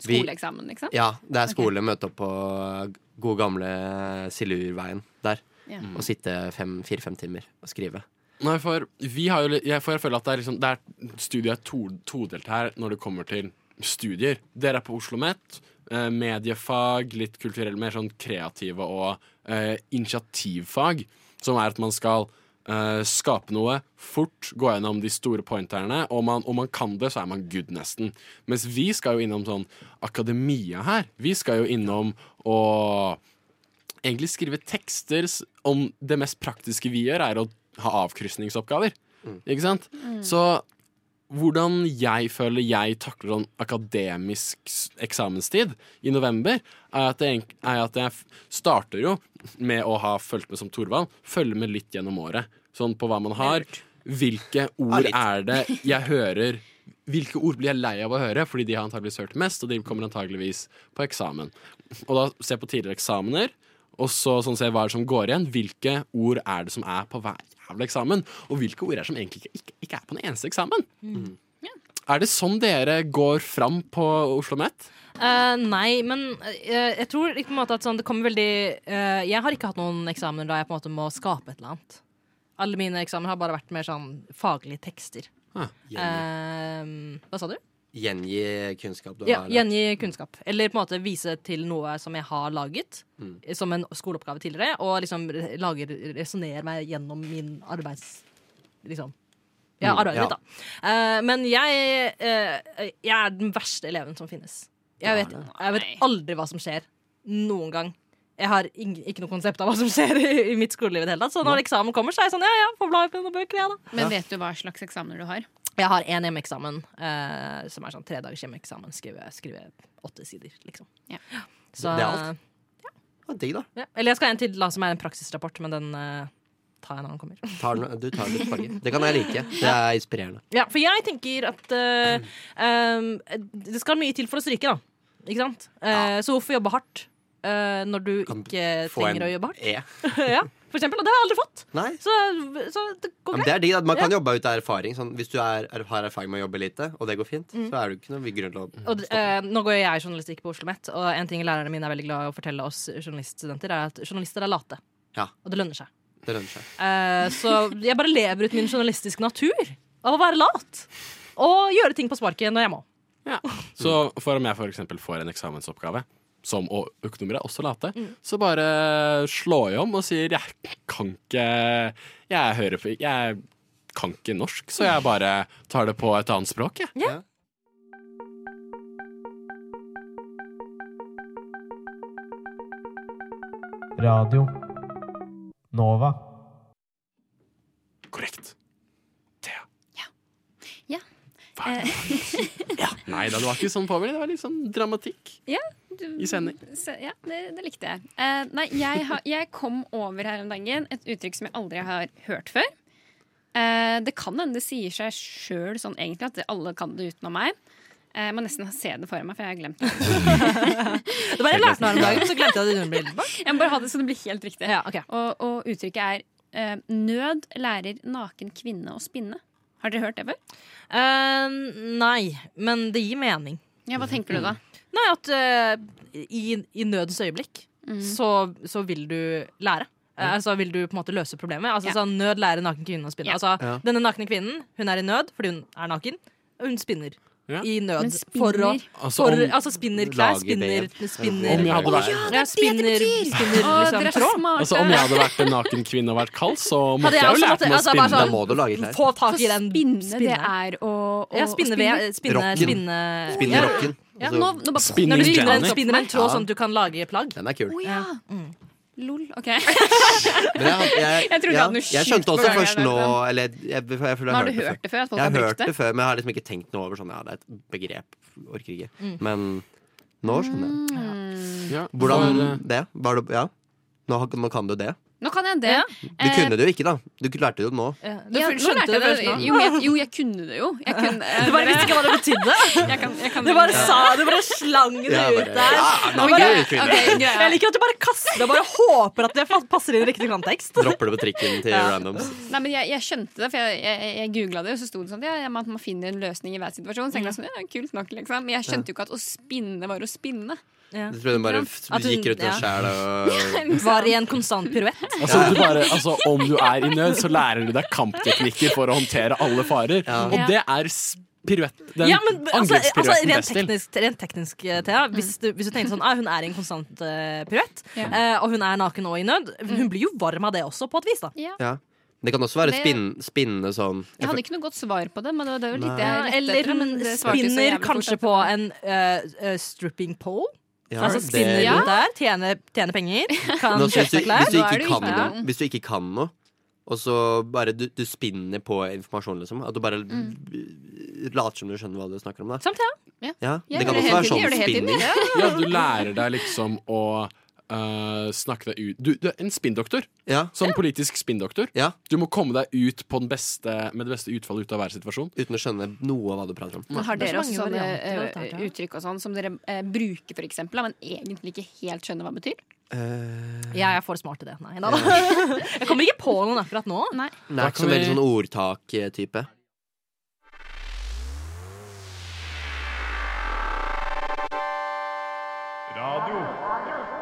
Vi-
skoleeksamen, liksom?
Ja, det er
Ok.
skole. Møte opp på gode gamle Silurveien der. Mm.
Ja.
Og sitte fem- fire-fem timer og skrive.
Nei, for vi har jo litt- jeg, for jeg føler at det er liksom det er, Studiet er to, todelt her når det kommer til studier. Dere er på Oslo Met. eh, Mediefag, litt kulturell, mer sånn kreative og eh, initiativfag. Som er at man skal eh, skape noe fort, gå gjennom de store pointerne. Og man, om man kan det, så er man good, nesten. Mens vi skal jo innom sånn akademia her. Vi skal jo innom å egentlig skrive tekster s- om det mest praktiske vi gjør, er å ha avkrysningsoppgaver. Ikke sant? Så hvordan jeg føler jeg takler sånn akademisk s- eksamenstid i november, er at, jeg, egent- er at jeg f- starter jo med å ha fulgt med som Torvald, følge med litt gjennom året. Sånn på hva man har. Hvilke ord er det jeg hører Hvilke ord blir jeg lei av å høre, fordi de har antageligvis hørt mest, og de kommer antageligvis på eksamen. Og da se på tidligere eksamener, og så sånn se hva er det som går igjen. Hvilke ord er det som er på hver jævla eksamen, og hvilke ord er det som egentlig ikke, ikke, ikke er på den eneste eksamen. Er det sånn dere går fram på Oslo Met?
Eh, nei, men eh, jeg tror ikke på en måte at sånn, det kommer veldig eh, Jeg har ikke hatt noen eksamener da jeg på en måte må skape et eller annet. Alle mine eksamener har bare vært mer sånn faglige tekster.
Ah,
Eh, hva sa du?
Gjengi kunnskap du
Ja,
har. lært.
Gjengi kunnskap. Eller på en måte vise til noe som jeg har laget
Mm.
som en skoleoppgave tidligere, og liksom resonnerer meg gjennom min arbeids... Liksom. Ja,
Mm,
arbeidet
ja.
mitt, da. Eh, men jeg, eh, jeg er den verste eleven som finnes. Jeg vet, jeg vet aldri hva som skjer. Noen gang. Jeg har ing, ikke noe konsept av hva som skjer i, i mitt skoleliv. i det hele tatt Så når eksamen kommer, så er jeg sånn ja, ja, får bla opp i noen bøker, jeg, da.
Men vet du hva slags eksamener du har?
Jeg har én hjemmeeksamen, eh, som er sånn tre dagers hjemmeeksamen. Skrive, skrive åtte sider, liksom. Så- eh,
Det er alt. Ja, digg, da.
Ja. Eller jeg skal ha en til, da, som er en praksisrapport, men den eh, tar jeg når den kommer.
Tar den- du tar litt farge. Det kan jeg like. Det er inspirerende.
Ja, for jeg tenker at eh, em, det skal mye til for å stryke, da. Ikke sant? Eh, Så hvorfor jobbe hardt eh, når du ikke
Få en
trenger å jobbe hardt?
E.
ja, for eksempel. Og det har jeg aldri fått.
Nei.
Så, så det
Ja,
går
men
greit.
det er digg. at Man kan
Ja.
jobbe ut av erfaring. Sånn, hvis du er, er, har erfaring med å jobbe lite, og det går fint,
Mm.
så er det jo ikke noe grunn til å
Og, eh, nå går jeg i journalistikk på Oslo Met, og en ting lærerne mine er veldig glad i å fortelle oss journaliststudenter, er at journalister er late.
Ja,
Og det lønner seg.
det lønner seg.
Eh, så jeg bare lever ut min journalistiske natur av å være lat. Og gjøre ting på sparket når jeg må.
Så for om jeg for eksempel får en eksamensoppgave, som og økonomer er også late,
Mm.
så bare slår jeg om og sier jeg kan ikke Jeg hører på Jeg kan ikke norsk, så jeg bare tar det på et annet språk, jeg.
Ja.
Radio Nova.
Korrekt.
Ja.
Eh.
Nei da, det var ikke sånn påmeldt. Det var litt sånn dramatikk.
Ja, du-
I sending.
Se, ja, det, det likte jeg. Eh, nei, jeg, har, jeg kom over her om dagen et uttrykk som jeg aldri har hørt før. Eh, det kan hende det sier seg sjøl sånn egentlig at det, alle kan det utenom meg. Eh, jeg må nesten se det for meg, for jeg har glemt det.
Det var jeg lærte meg om dagen, så glemte jeg det umiddelbart.
Jeg må bare ha det så det blir helt riktig. og, og uttrykket er eh, 'nød lærer naken kvinne å spinne'. Har dere hørt det før?
Eh, nei, men det gir mening.
Ja, Hva tenker du da?
Nei, at eh, i, i nødens øyeblikk
Mm.
så, så vil du lære. Eh, Altså vil du på en måte løse problemet. Altså
Ja.
sånn, Nød lærer naken kvinne å spinne.
Ja.
Altså,
Ja.
Denne nakne kvinnen hun er i nød fordi hun er naken. og Hun spinner.
Ja.
I nød.
Men
for å,
spinner?
Altså,
for,
om-
altså spinner klær,
Lager
spinner,
vev.
spinner
Om jeg hadde vært-
ja, det er spinner, spinner
Å,
liksom,
dere er
tråd.
smarte.
Altså Om jeg hadde vært en naken kvinne og vært kald, så måtte
jeg
jeg jo
også
lært
måtte-
meg å
altså, bare
spinne.
sånn, Da må du lage klær. få tak i
For
den
spinne, det
spinneren.
er å, å
Ja, spinne ved- spinne- Rocken. spinne- Spinne ja. rocken.
Ja,
Altså,
nå, nå bare
spinne
Når du
ut
spinner en-
Jenny.
spinner en tråd
Ja.
sånn
at du kan lage plagg.
Den er kul.
Å ja. Mm. Lol. OK.
Men jeg, jeg,
Jeg trodde jeg
ja,
hadde noe
jeg
sjukt
skjønte også
på gang,
først
jeg
nå
vet det.
eller, jeg, jeg, jeg, føler
Men
jeg
har du hørt det før, at folk
jeg
har brukt
hørt
det?
det før, men jeg har liksom ikke tenkt noe over sånn Ja, det er et begrep. Orker ikke.
Mm.
Men nå skjønner jeg.
Mm.
Ja,
Hvordan
for, eh,
det? Var det ja. nå, har- nå kan du det.
Nå kan jeg det.
Du kunne det jo ikke, da. Du lærte det jo nå.
Eh, Ja,
Ja,
nå
nå
skjønte
lærte
du
jeg
det
det
først
først
nå?
nå.
Jo, jeg, jo, jeg kunne det liksom- jo. Jeg kunne, eh,
Du bare visste ikke hva det betydde?
Jeg kan, jeg kan
Du bare sa det, du bare slang det
Ja, bare,
ut der.
ja,
Du
nå
bare-
gøy, kvinne.
Ok, greit. Jeg liker at du bare kaster det og bare håper at det fa- passer inn i riktig kontekst.
Dropper det på trikken til
Ja.
randoms.
Nei, men jeg, jeg skjønte det, for jeg, jeg, jeg googla det, og så sto det sånn ja, ja, at man finner en løsning i hver situasjon. Så tenkte jeg sånn, ja, kult nok, liksom. Men jeg skjønte jo ikke at å spinne var å spinne.
Du trodde hun bare f-
At hun-
gikk rundt
ja.
og skjæl og
Var i en konstant piruett.
Altså, du bare, altså, om du er i nød, så lærer du deg kampteknikker for å håndtere alle farer. Og det er s- piruett. Den
ja, men, altså, altså,
angrepspiruetten
rent,
best til.
teknisk, rent teknisk, eh, Thea, hvis du, hvis du tenker sånn ah, Hun er i en konstant eh, piruett, eh, og hun er naken og i nød. Hun blir jo varm av det også, på et vis. da
Ja. Det kan også være
Det-
spinn, spinnende sånn
Jeg hadde ikke noe godt svar på det, men det var jo litt det
Ja,
jeg lette
Eller
etter, men
hun
det svarte jo så
spinner
jævlig fort
kanskje
at-
på en eh, eh, stripping pole.
Ja,
altså
det-
spinner
Ja.
rundt der, tjener, tjener penger, kan
Men også
kjøpe
hvis, du,
seg klær.
hvis, du ikke kan noe, hvis du ikke kan noe, og så bare du, du spinner på informasjon, liksom. At du bare
Mm.
later som du skjønner hva du snakker om. Da.
Som Sånn, Thea.
Ja,
Jeg gjør
det kan
det
også
hele tiden,
være sånn
jeg gjør det hele tiden,
spinning.
Ja, du lærer deg liksom å eh, snakke deg ut du, du er en spinndoktor. Sånn politisk spinndoktor. Du må komme deg ut på den beste, med det beste utfallet ut av hver situasjon.
Uten å skjønne noe av hva du prater om.
Men har dere også sånne
varianter
eh, uttrykk og sånn som dere eh, bruker, for eksempel, da, men egentlig ikke helt skjønner hva det betyr?
Eh,
Jeg er for smart til det. Nei, da. Jeg kommer ikke på noen akkurat nå.
Det er ikke så veldig sånn ordtak-type.
Radio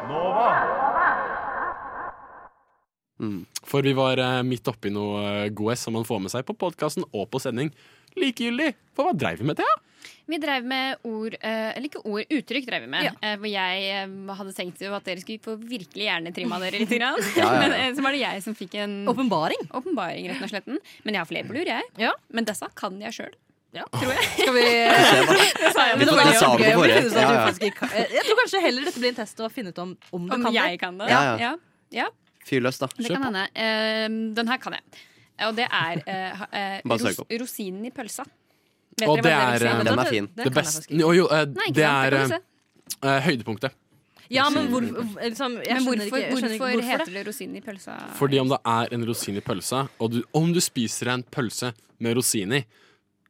Nova.
For vi var eh, midt oppi noe eh, god S som man får med seg på podkasten og på sending. Likegyldig! For hva dreiv vi med, Thea?
Vi drev med ord, eh, eller ikke ord, uttrykk drev vi med. Eh, For jeg eh, hadde tenkt jo at dere skulle få virkelig hjernetrimma dere litt. Grann.
Ja, ja, ja.
Men eh, så var det jeg som fikk en
Åpenbaring.
Åpenbaring, rett og slett. Men jeg har flere på lur, jeg. Men disse kan jeg sjøl. Tror jeg.
Skal vi
Det sa jeg.
Men det var
Jeg sa det
gøy om
på
det
forrige.
finnes at du
Ja, ja.
faktisk ikke kan- Eh, Jeg tror kanskje heller dette blir en test å finne ut om om du
Om
kan
jeg
det.
kan det.
Ja, ja.
ja. ja.
Fyr løs, da.
Det kan hende. Eh, den her kan jeg. Og det er eh, ha- eh,
Bare søk
ros
opp.
rosinen i pølsa.
Og det er,
hva rosin
eh,
er?
Sånn
Den er fin.
Det beste Jo, jo, eh,
Nei, ikke
det
sant, det
er
kan du
eh, eh, høydepunktet.
Ja, men hvor, liksom, jeg skjønner
Men hvorfor,
ikke, jeg skjønner ikke
hvorfor,
hvorfor det.
heter det rosin i pølsa?
Fordi om det er en rosin i pølsa, og du, om du spiser en pølse med rosin i,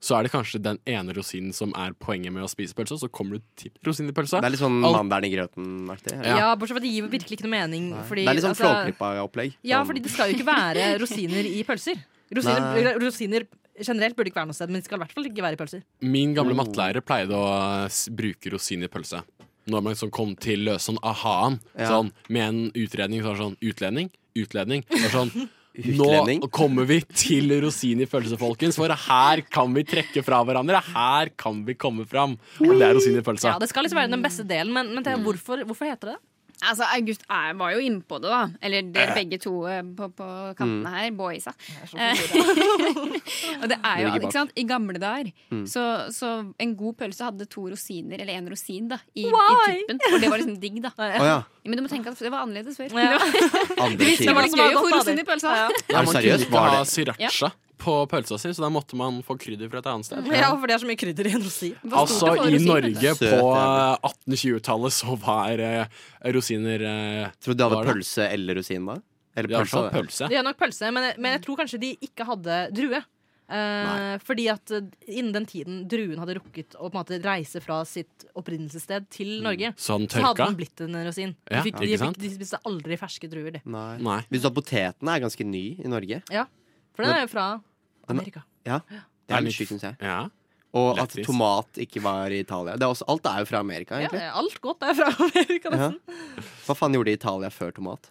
så er det kanskje den ene rosinen som er poenget med å spise pølse, og så kommer du til rosin i pølsa.
Det er litt sånn
Alt-
mandelen i grøten-aktig.
Ja.
Ja, bortsett fra at det gir jo virkelig ikke noe mening. Fordi,
Det er litt sånn
altså-
flåklypa-opplegg.
Ja,
Sånn-
fordi det skal jo ikke være rosiner i pølser. Rosiner,
Nei.
rosiner generelt burde ikke være noe sted, men det skal i hvert fall ikke være i pølser.
sånn-
Min gamle
Mm.
mattelærer pleide å s- bruke rosin i pølse. Når man liksom kom til løs sånn aha-en, sånn, med en utredning, så var det sånn utlending, utlending. Det var sånn,
Utlending?
Nå kommer vi til rosin i pølse, folkens, for her kan vi trekke fra hverandre. Her kan vi komme fram. Og det er rosin i pølsa.
Ja, det skal liksom være den beste delen, men, men Thea, hvorfor, hvorfor heter det det?
Altså, August er, var jo inne på det, da. Eller dere begge to eh, på, på kantene her. Boysa. og det er jo
ligger bak.
ikke sant, I gamle dager
Mm.
så, så en god pølse hadde to rosiner, eller én rosin, da i, i
Why?
tuppen. For det var liksom digg, da.
ja.
Men du må tenke at det var annerledes før.
Ja.
Andre
Det
sider.
visste var
Det
gøy
var
å få
godt, da,
rosin i
det.
pølsa.
Ja,
man
men
kunne
seriøst,
ikke
var
ha
det-
sriracha på pølsa si, så da måtte man få krydder fra et annet sted.
Ja, for det er så mye krydder i en rosin.
Altså, i Norge
Søt
på
jævel.
1820-tallet så var eh, rosiner eh,
Tror du de
var
hadde
det?
pølse eller rosin da?
Ja,
Eller
i hvert
pølse?
fall pølse.
De har nok pølse, men, men jeg tror kanskje de ikke hadde drue. Eh, fordi at eh, innen den tiden druen hadde rukket å på en måte reise fra sitt opprinnelsessted til Norge,
Så hadde den
hadde
tørka?
den blitt en rosin. De,
Ja,
fikk,
ikke
de,
sant?
fikk, de spiste aldri ferske druer, de.
Nei.
Nei.
Hvis du har potetene, er ganske ny i Norge.
Ja, for den er jo fra Amerika.
Ja, Det er litt sykt, syns jeg. Og at
Lettvis.
tomat ikke var i Italia. Det er også, alt er jo fra Amerika,
Ja,
egentlig.
alt godt er fra Amerika,
Ja.
nesten.
Hva faen gjorde de i Italia før tomat?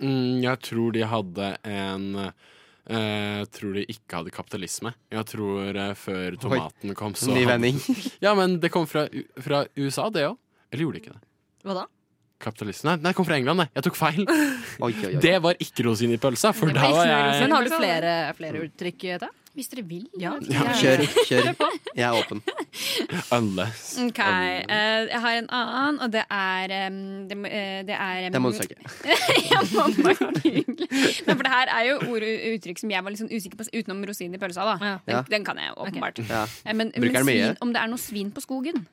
Mm, jeg tror de hadde en eh, tror de ikke hadde kapitalisme. Jeg tror eh, før tomaten kom, så
Ny
hadde-
vending.
Ja, men det kom fra, U- fra USA, det òg. Eller gjorde det ikke det?
Hva da?
Kapitalisme? Nei, nei, det kom fra England, det. Jeg tok feil.
Oi, oi, oi.
Det var ikke rosin i pølsa, for da var jeg
Eh, Men har du flere, flere uttrykk til det?
Hvis dere vil.
Ja.
Ja, kjør. kjør Jeg er åpen.
Unless.
Ok, eh, Jeg har en annen, og det er em, Det, må- eh, det er em,
Det må du søke.
ja, mamma, hyggelig. Nei, for det her er jo ord og uttrykk som jeg var litt sånn usikker på, utenom rosinen i pølsa. da den,
Ja.
den kan jeg åpenbart.
Ja.
Eh, Men,
Bruker
men
den mye?
svin, om det er noe svin på skogen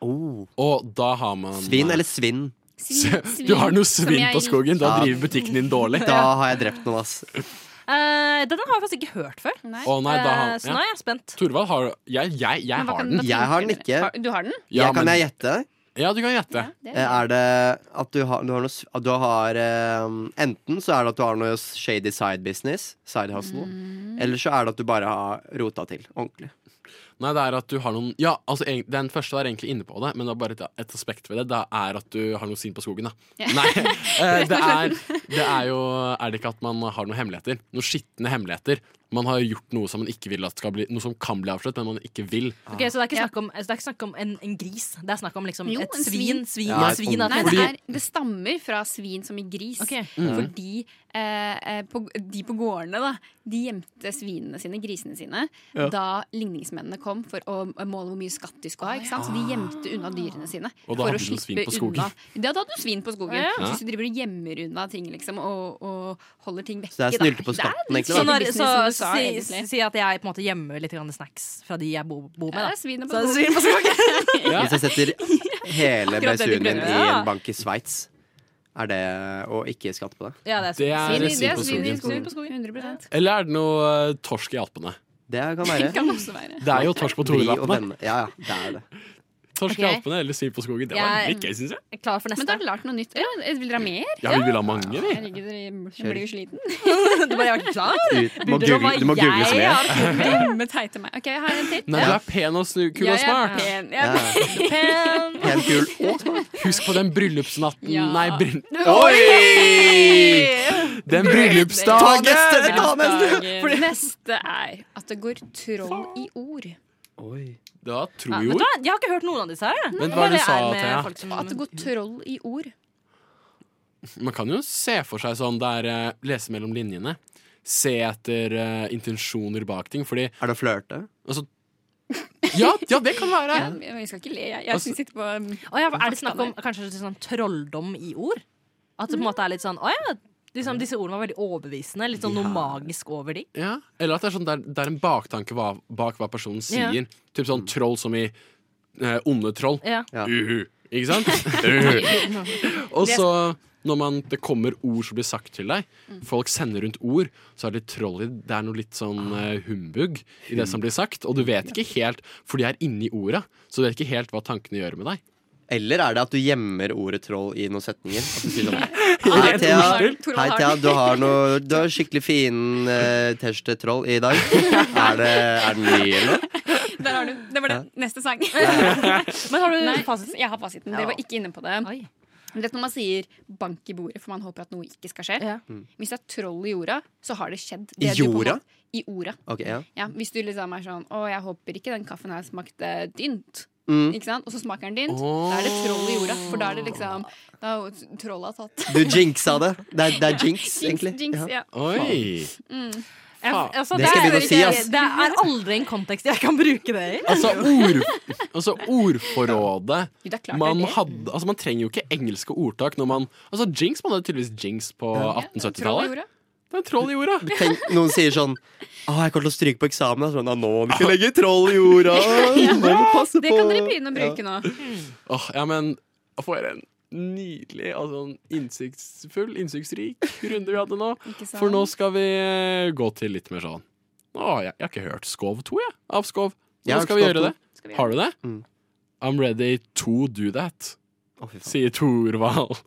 Oh.
Og da har man
Svin eller svinn?
Se, du har noe svinn på skogen. Da
Ja.
driver butikken din dårlig.
Da har jeg drept noen, ass.
Eh, denne har jeg faktisk ikke hørt før.
Å nei, da har-
Eh, så
ja.
nå er jeg spent.
Torvald har Jeg, jeg, jeg har den.
Jeg har den ikke.
Du har den?
Ja,
jeg, kan
men-
jeg gjette?
Ja, du kan gjette.
det
Eh, Er det at du har, du har noe s- at du har, eh, Enten så er det at du har noe shady side business, side hustle,
Mm.
eller så er det at du bare har rota til ordentlig.
Nei, det er at du har noen Ja, altså, egen- Den første var egentlig inne på det, men det er bare et, et aspekt ved det. Det er at du har noe svinn på skogen, da. Nei, eh, det er, det er jo Er det ikke at man har noen hemmeligheter? Noen skitne hemmeligheter. Man har gjort noe som man ikke vil at skal bli Noe som kan bli avslørt, men man ikke vil.
Ok, så det er ikke snakk om, så det er ikke snakk om en, en gris, det er snakk om liksom
Jo,
et
en
svin.
svin.
svin,
Ja, et
svin av
Nei,
et
det,
menneske.
er, det stammer fra svin som i gris.
Mhm.
Fordi eh, eh, på, de på gårdene da, de gjemte svinene sine, grisene sine,
Ja.
da ligningsmennene kom for å måle hvor mye skatt de skulle ha. Ikke sant? Så de gjemte unna dyrene sine.
Ah. Og da
for
hadde
å
du svin
slippe
på skogen.
Unna. Ja, da hadde du svin på skogen.
Ja.
Så hvis du driver og gjemmer unna ting liksom, og, og holder ting vekke
Så det er
da.
snylte på
Det er
skatten,
litt
egentlig,
Så,
da.
når,
shady
så
business, som du sa,
si,
egentlig.
si at jeg på en måte gjemmer litt grann snacks fra de jeg bor, bor med.
Ja,
Da.
det er svinet på
Så det er svin
skogen.
på skogen.
Hvis jeg setter hele
Akkurat det de
BSU-en min i
prøver.
en bank i Sveits, er det å ikke skatte på det?
Ja, det er sånn.
Det er
Svin i-
svin på
svin i
skogen.
på skogen. 100
Eller er det noe eh, torsk i Alpene?
Det kan være.
Kan også være.
Det er jo torsk på
Vri og
Torvaldalpene.
vende. Ja, ja, det er det.
Torsk i
Ok.
Alpene eller svin på skogen. Det var
Jeg-
litt gøy, syns jeg.
Jeg er Klar for
Men da har
neste.
du lært noe nytt. Ja, vil dere ha mer?
Ja, vi vil ha mange, vi.
Herregud, dere blir jo sliten.
Du bare, jeg var ikke klar.
Du må google, du må google så mye.
Dumme, teite meg. Ok, jeg har en til.
Nei, du er pen og snu, kul og
Ja, jeg er
smart.
pen.
Ja,
Jeg er
ja.
Pen.
Pen, kul og smart.
Husk på den bryllupsnatten
Ja.
Nei, bryll...
Oi!
Den
Ta
bryllupsdagen!
neste, ta neste!
For det neste er at det går troll i ord.
Oi.
Det var
Ja, vet du
trojord.
hva? Jeg har ikke hørt noen av disse her. jeg.
Men hva er det du
Jeg
sa,
med
Thea?
folk som-
At det går troll i ord.
Man kan jo se for seg sånn det er eh, lese mellom linjene. Se etter eh, intensjoner bak ting, fordi
Er det å flørte?
altså, ja, ja, det kan være!
Ja, men jeg skal ikke le. Jeg, jeg
Altså-
skal sitte på um,
Å ja, er det snakk om kanskje litt sånn trolldom i ord? At det på en måte er litt sånn Å ja, liksom, disse ordene var veldig overbevisende. Litt sånn noe
Ja.
magisk over de.
Ja. Eller at det er, sånn, det er, det er en baktanke hva, bak hva personen
Ja.
sier. Typ sånn troll som i eh, onde troll.
Ja.
Ja.
Uhu. Ikke sant? Uhu. Og så når man, det kommer ord som blir sagt til deg,
Mm.
folk sender rundt ord, så er det litt troll i det. Det er noe litt sånn
Ah.
eh, humbug i det som blir sagt. Og du vet ikke helt, for de er inni orda, så du vet ikke helt hva tankene gjør med deg.
Eller er det at du gjemmer ordet troll i noen setninger? At du sier sånn, Hei, Thea.
Torvald
Hei,
har
Thea.
den.
Du har, noe, du har skikkelig fin uh, T-skjorte-troll i dag. Er, det, er den ny, eller? noe?
Der har du. Det var det. Neste sang.
Men har du
Nei,
fasiten?
jeg har fasiten. Dere var ikke inne på det.
Oi.
Du vet når man sier 'bank i bordet', for man håper at noe ikke skal skje.
Ja.
Mm.
Hvis det er troll i jorda, så har det skjedd.
I
Det du på en
jorda?
måte- I orda.
Ok, ja.
Ja, hvis du liksom er sånn 'Å, jeg håper ikke den kaffen her smakte dynt'.
Mm.
Ikke sant? Og så smaker den dynt.
Åh.
Da er det troll i jorda. For da er det liksom Da er jo trollet tatt.
Du jinxa det. Det er, det er jinx,
Jinx,
egentlig.
jinx,
Ja.
ja.
Oi!
Jeg,
Faen.
altså,
Det skal jeg begynne å si, ass.
Det er aldri en kontekst jeg kan bruke det i.
Altså, ord, altså ordforrådet
Jo, det er klart
man,
det er det.
hadde, altså, man trenger jo ikke engelske ordtak når man Altså, jinx man hadde tydeligvis jinx på
Troll i
1870-tallet.
jorda.
Det er troll i jorda.
Tenk, noen sier sånn Å, jeg kommer til å stryke på eksamen. Og sånn, «Å, nå må vi ikke legge troll i jorda. Nå må vi passe på.
Det kan dere begynne å bruke nå.
Åh, ja, men for en nydelig og sånn innsiktsfull, innsiktsrik runde vi hadde nå.
Ikke sant?
For nå skal vi eh, gå til litt mer sånn Å, jeg, jeg har ikke hørt Skov 2, jeg. Av Skov.
Jeg
Nå
har
skal vi
hørt Skov
gjøre det.
2.
Skal vi gjøre
Har du det?
Mm.
I'm ready to do that,
Å, fy faen.
sier Torvald.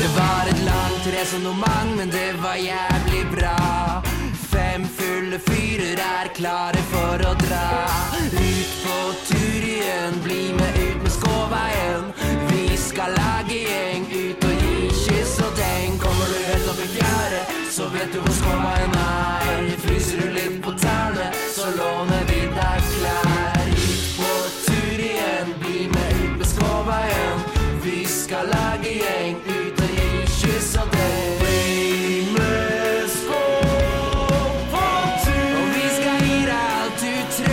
Det var et langt resonnement, men det var jævlig bra. Fem fulle fyrer er klare for å dra. Ut på tur igjen, bli med ut med Skåveien. Vi skal lage gjeng, ut og gi kyss og deng. Kommer du helt opp i fjæret, så vet du hvor Skåveien er. Fryser du litt på tærne, så låner vi deg klær. Ut på tur igjen, bli med ut med Skåveien. Vi skal lage gjeng ut og gi kyss og deg. Bli med skål på tur. Og vi skal gi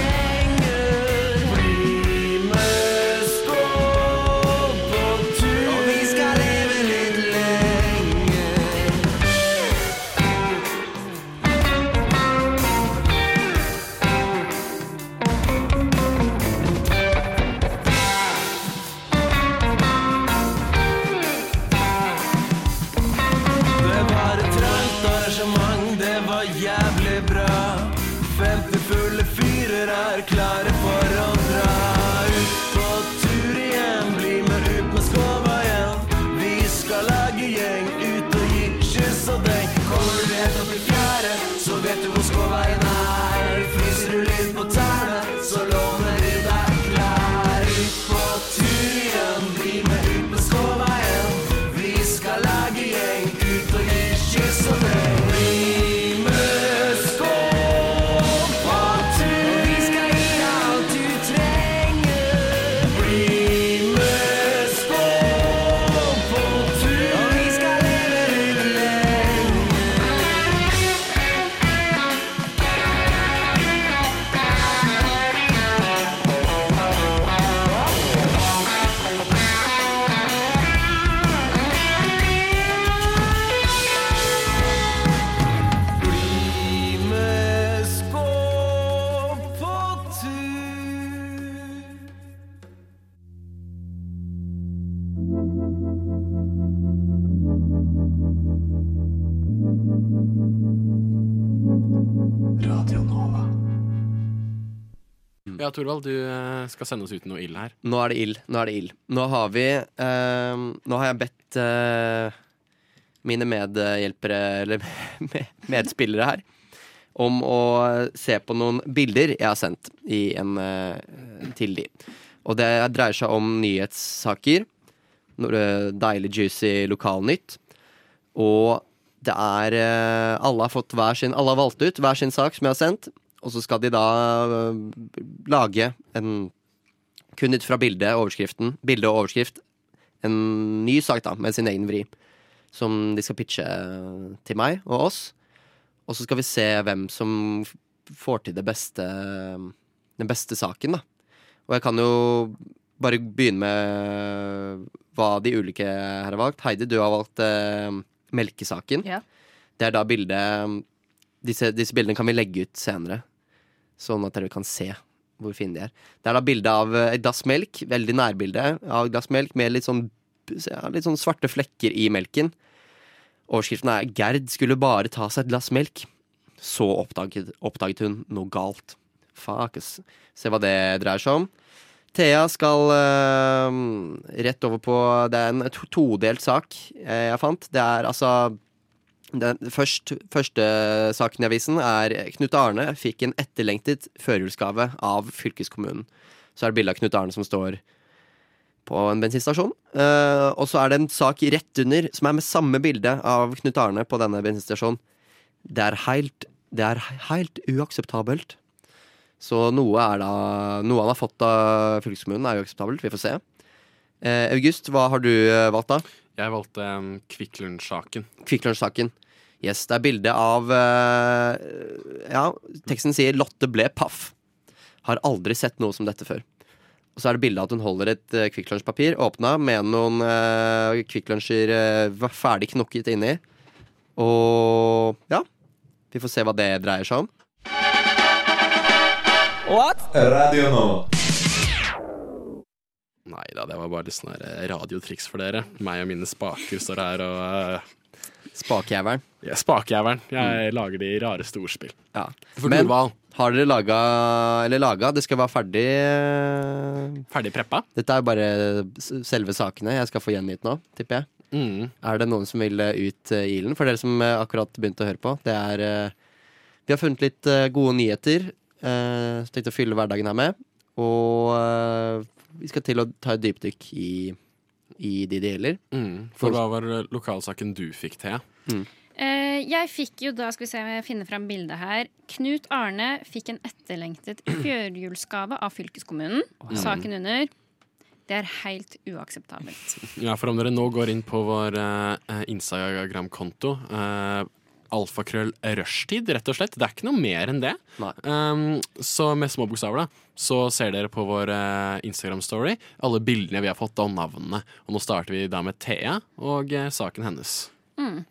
klare for å dra ut på tur igjen. Bli med ut med skåva igjen. Vi skal lage gjeng, ut og gi kyss og deng. Kommer du helt opp i fjære, så vet du hvor skåveien er. Fryser du litt på tærne, så låner vi deg klær. Ut på tur igjen, bli med ut med skåva igjen. Vi skal lage gjeng, ut og gi kyss og deng. Bli med skål på tur. Og vi skal gi alt du trenger. Bli med skål på tur. Og vi skal leve litt lenge. Bli med skål på tur.
Radio Nova.
Mm.
Ja, Torvald, du eh, skal sende oss ut noe ild her.
Nå er det ild. Nå er det ild. Nå har vi eh, Nå har jeg bedt eh, mine medhjelpere, eller med- medspillere her, om å se på noen bilder jeg har sendt i en, eh, til de. Og det dreier seg om nyhetssaker. noe, eh, Deilig, juicy lokalnytt. Og det er eh, Alle har fått hver sin Alle har valgt ut hver sin sak som jeg har sendt. Og så skal de da eh, lage en kun ut fra bildet, overskriften, bilde og overskrift, en ny sak da, med sin egen vri, som de skal pitche eh, til meg og oss. Og så skal vi se hvem som f- får til det beste, eh, den beste saken, da. Og jeg kan jo bare begynne med hva de ulike her har valgt. Heidi, du har valgt eh, melkesaken.
Ja.
Det er da bildet eh, disse, disse bildene kan vi legge ut senere, sånn at dere kan se hvor fine de er. Det er da bilde av eh, et glass melk, veldig nærbilde av et glass melk, med litt sånn, ja, litt sånn svarte flekker i melken. Overskriften er 'Gerd skulle bare ta seg et glass melk'. Så oppdaget, oppdaget hun noe galt. Fakes. Se hva det dreier seg om. Thea skal eh, rett over på Det er en to- todelt sak eh, jeg fant. Det er altså den først, første saken i avisen er Knut Arne fikk en etterlengtet førjulsgave av fylkeskommunen. Så er det bilde av Knut Arne som står på en bensinstasjon. Eh, og så er det en sak rett under som er med samme bilde av Knut Arne på denne bensinstasjonen. Det er heilt, det er heilt uakseptabelt. Så noe, er da, noe han har fått av fylkeskommunen, er uakseptabelt. Vi får se. Eh, August, hva har du eh, valgt, da?
Jeg valgte um, Kvikk Lunsj-saken.
Kvikk Lunsj-saken. Yes, det er bilde av eh, Ja, teksten sier 'Lotte ble paff'. Har aldri sett noe som dette før. Og så er det bilde av at hun holder et uh, Kvikk Lunsj-papir åpna med noen uh, Kvikk Lunsjer eh, ferdig knokket inni. Og ja, vi får se hva det dreier seg om.
What?
Radio Nova. Nei da, det var bare litt sånn her radiotriks for dere. Meg og mine spaker står her og uh,
Spakjævelen.
Ja, spakjævelen. Jeg lager de rareste ordspill.
Ja.
For
Mm. Men
Torvald.
har dere laga Eller laga? Det skal være ferdig eh,
Ferdig preppa?
Dette er jo bare s- selve sakene jeg skal få gjengitt nå, tipper jeg.
Mm.
Er det noen som vil eh, ut eh, i ilden? For dere som eh, akkurat begynte å høre på, det er eh, Vi har funnet litt eh, gode nyheter. eh, Så tenkte jeg å fylle hverdagen her med. Og eh, vi skal til å ta et dypdykk i, i de det gjelder.
Mm. For hva var lokalsaken du fikk, Thea?
Eh, jeg fikk jo da, skal vi se om jeg finner fram bildet her Knut Arne fikk en etterlengtet fjørjulsgave av fylkeskommunen.
ja.
Saken under. Det er helt uakseptabelt.
Ja, for om dere nå går inn på vår eh, Instagram-konto eh, Alfakrøll rushtid, rett og slett. Det er ikke noe mer enn det. Um, så med små bokstaver, da, så ser dere på vår eh, Instagram-story alle bildene vi har fått, og navnene. Og nå starter vi da med Thea og eh, saken hennes.
Mm.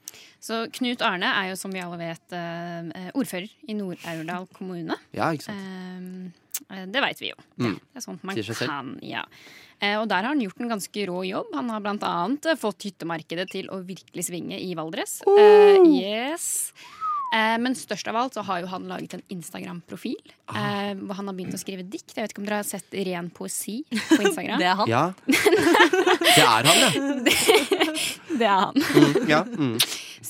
Så Knut Arne er jo, som vi alle vet, eh, ordfører i Nord-Aurdal kommune.
Ja, ikke sant?
Eh, det veit vi jo.
Mm.
Det er sånt man
Sier seg selv.
kan, ja. Eh, Og der har han gjort en ganske rå jobb. Han har blant
Oh!
annet eh, fått hyttemarkedet til å virkelig svinge i Valdres. Eh, yes.
Eh, Men størst av alt så har jo han laget en Instagram-profil
Ah.
eh, hvor han har begynt å skrive dikt. Jeg vet ikke om dere har sett ren poesi på Instagram?
Det er han.
Ja. Det er han, ja.
Det er han.
Mm, ja. Mm.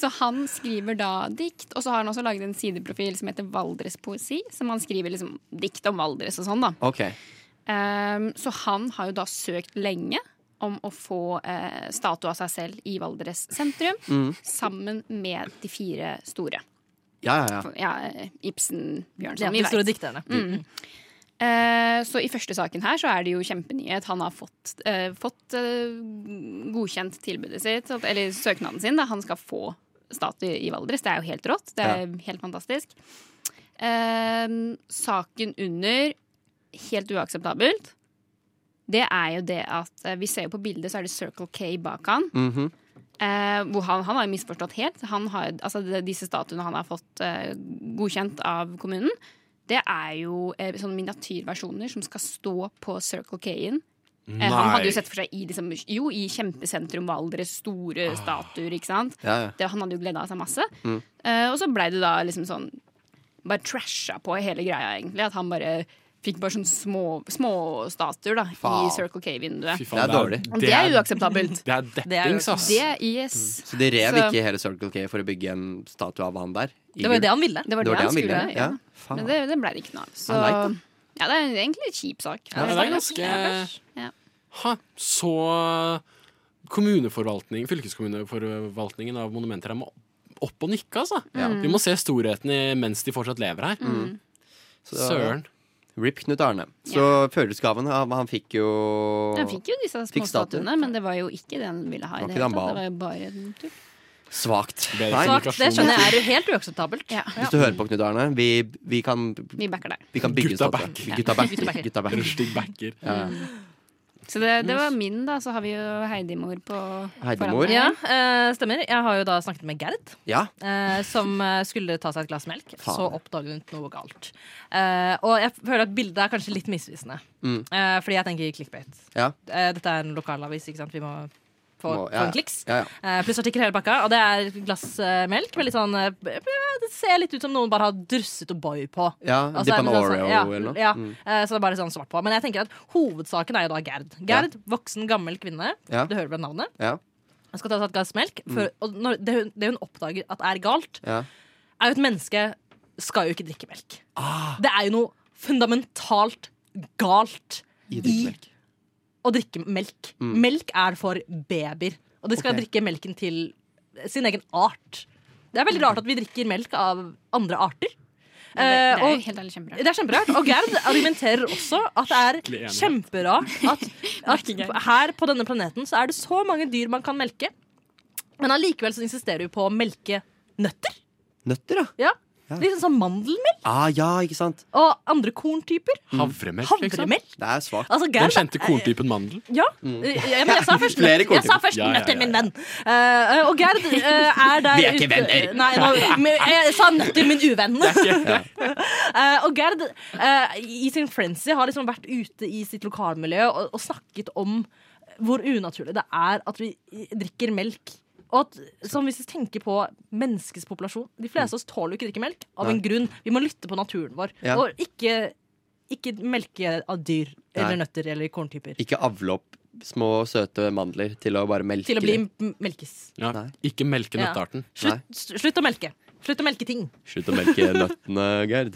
Så han skriver da dikt, og så har han også laget en sideprofil som heter Valdres Poesi, som han skriver liksom dikt om Valdres og sånn, da.
Ok.
Ehm, så han har jo da søkt lenge om å få eh, statue av seg selv i Valdres sentrum,
Mm.
sammen med de fire store.
Ja, ja,
For- Ja, eh, Ibsen, Bjørnson,
Ja,
vi
de
vet.
store dikterne.
Mm. Eh, Så i første saken her så er det jo kjempenyhet. Han har fått, eh, fått eh, godkjent tilbudet sitt, at- eller søknaden sin. Da. Han skal få statue i Valdres. Det er jo helt rått. Det er
Ja.
helt fantastisk. Eh, Saken under helt uakseptabelt. Det er jo det at eh, Vi ser jo på bildet, så er det Circle K bak han.
Mhm.
Eh, hvor han, han har jo misforstått helt. Han har, altså, de, disse statuene han har fått eh, godkjent av kommunen, det er jo eh, sånne miniatyrversjoner som skal stå på Circle K-en. Eh, han
Nei.
hadde jo sett for seg i, liksom, jo, i kjempesentrum Valdres, store statuer, ikke sant.
Ja, ja.
Det, han hadde jo gleda seg masse. Eh, og så blei det da liksom sånn Bare trasha på hele greia, egentlig. At han bare fikk bare sånne små, små statuer da, i
Faen.
Circle K-vinduet.
Fy faen, Det er det er- dårlig.
Og det er uakseptabelt.
Det er
deppings, ass.
Det, yes.
Så de rev
Så-
ikke hele Circle K for å bygge en statue av han der? i
Det var jo
gull?
det han ville. Det var det han
ville,
skulle,
ja.
ja.
Faen.
Men det, det ble det ikke noe av. Så
Ja, leit,
ja, det er egentlig en kjip sak.
Ja, det er ganske
Ja.
ha, Så kommuneforvaltning, fylkeskommuneforvaltningen av monumenter her må opp og nikke, altså.
Ja.
Vi må se storheten i, mens de fortsatt lever her.
Mm. Så-
Søren.
Rip Knut Arne. Så følelsesgaven, han, han fikk jo
Han fikk jo disse
Fikk statuen.
småstatuene, men det var jo ikke det han ville ha. i Det,
Det var ikke
hele
den
tatt.
balen.
det var jo bare en tull.
Svakt. Nei.
Svakt, det skjønner jeg er jo helt uakseptabelt.
Hvis du hører på, Knut Arne, vi, vi kan
Vi backer deg.
Vi kan bygge
Gutta
statue.
backer.
Gutta
Gutta
backer.
backer.
Gutta backer.
Rustig backer.
Ja. Mm. ja.
Så det, det var min, da. Så har vi jo Heidimor på
Heidimor?
foran
Ja,
her.
eh, stemmer. Jeg har jo da snakket med Gerd.
Ja.
eh, som eh, skulle ta seg et glass melk.
Faen.
Så oppdaget hun noe galt. Eh, og jeg føler at bildet er kanskje litt misvisende.
Mm.
Eh, fordi jeg tenker clickbait.
Ja.
Eh, dette er en lokalavis, ikke sant? Vi må få,
Må-
få
ja,
en kliks.
ja, ja.
Eh, pluss artikkel hele bakka. Og det er et glass eh, melk med litt sånn eh, b- b- Det ser litt ut som noen bare har drusset O'boy på.
Ja,
Og så
dipp
er
en
det sånn-
Oreo
ja,
eller noe.
Ja,
Mm.
eh, så det er bare litt sånn svart på. Men jeg tenker at hovedsaken er jo da Gerd. Gerd, voksen, gammel kvinne.
Ja.
Du hører vel navnet?
Ja.
Jeg skal ta et glass melk.
Mm.
For, og når, det, hun, det hun oppdager at er galt,
Ja.
er jo at mennesket skal jo ikke drikke melk.
Ah.
Det er jo noe fundamentalt galt
I
å drikke melk.
Mm.
Melk er for babyer. Og de skal
Ok.
drikke melken til sin egen art. Det er veldig rart at vi drikker melk av andre arter.
Det, det er
Eh,
jo
og-
helt ærlig kjemperart.
det er kjemperart. Og Gerd argumenterer også at det
Skikkelig
er
enig.
kjemperart at, at her på denne planeten så er det så mange dyr man kan melke, men allikevel så insisterer du på å melke nøtter.
Nøtter, da.
Ja. Litt sånn som mandelmelk
Ah, ja, ikke sant?
og andre korntyper.
Havremelk.
Havremelk?
Det er svakt.
Altså,
Den
Gerd-
kjente korntypen mandel.
Ja.
Mm.
ja, men jeg sa først
Flere
nøtter, jeg sa
korntyper.
først
Ja, ja, ja,
nøtter,
ja.
min venn. Eh, og Gerd eh, er der
Vi er ikke
ute-
venner.
Nei, nå, men jeg sa nøtter, min uvenn.
Ja.
Eh, og Gerd eh, i sin frenzy har liksom vært ute i sitt lokalmiljø og, og snakket om hvor unaturlig det er at vi drikker melk. Og at, som hvis vi tenker på menneskets populasjon De fleste av oss tåler jo ikke å drikke melk av en
Nei.
grunn. Vi må lytte på naturen vår.
Ja.
Og ikke, ikke melke av dyr eller
Nei.
nøtter eller korntyper.
Ikke avle opp små, søte mandler til å bare melke
Til å bli
dem.
m- melkes.
Ja. Ikke melke
Ja.
nøttearten.
Slutt, s- slutt å melke. Slutt å melke ting.
Slutt å melke nøttene, Gerd.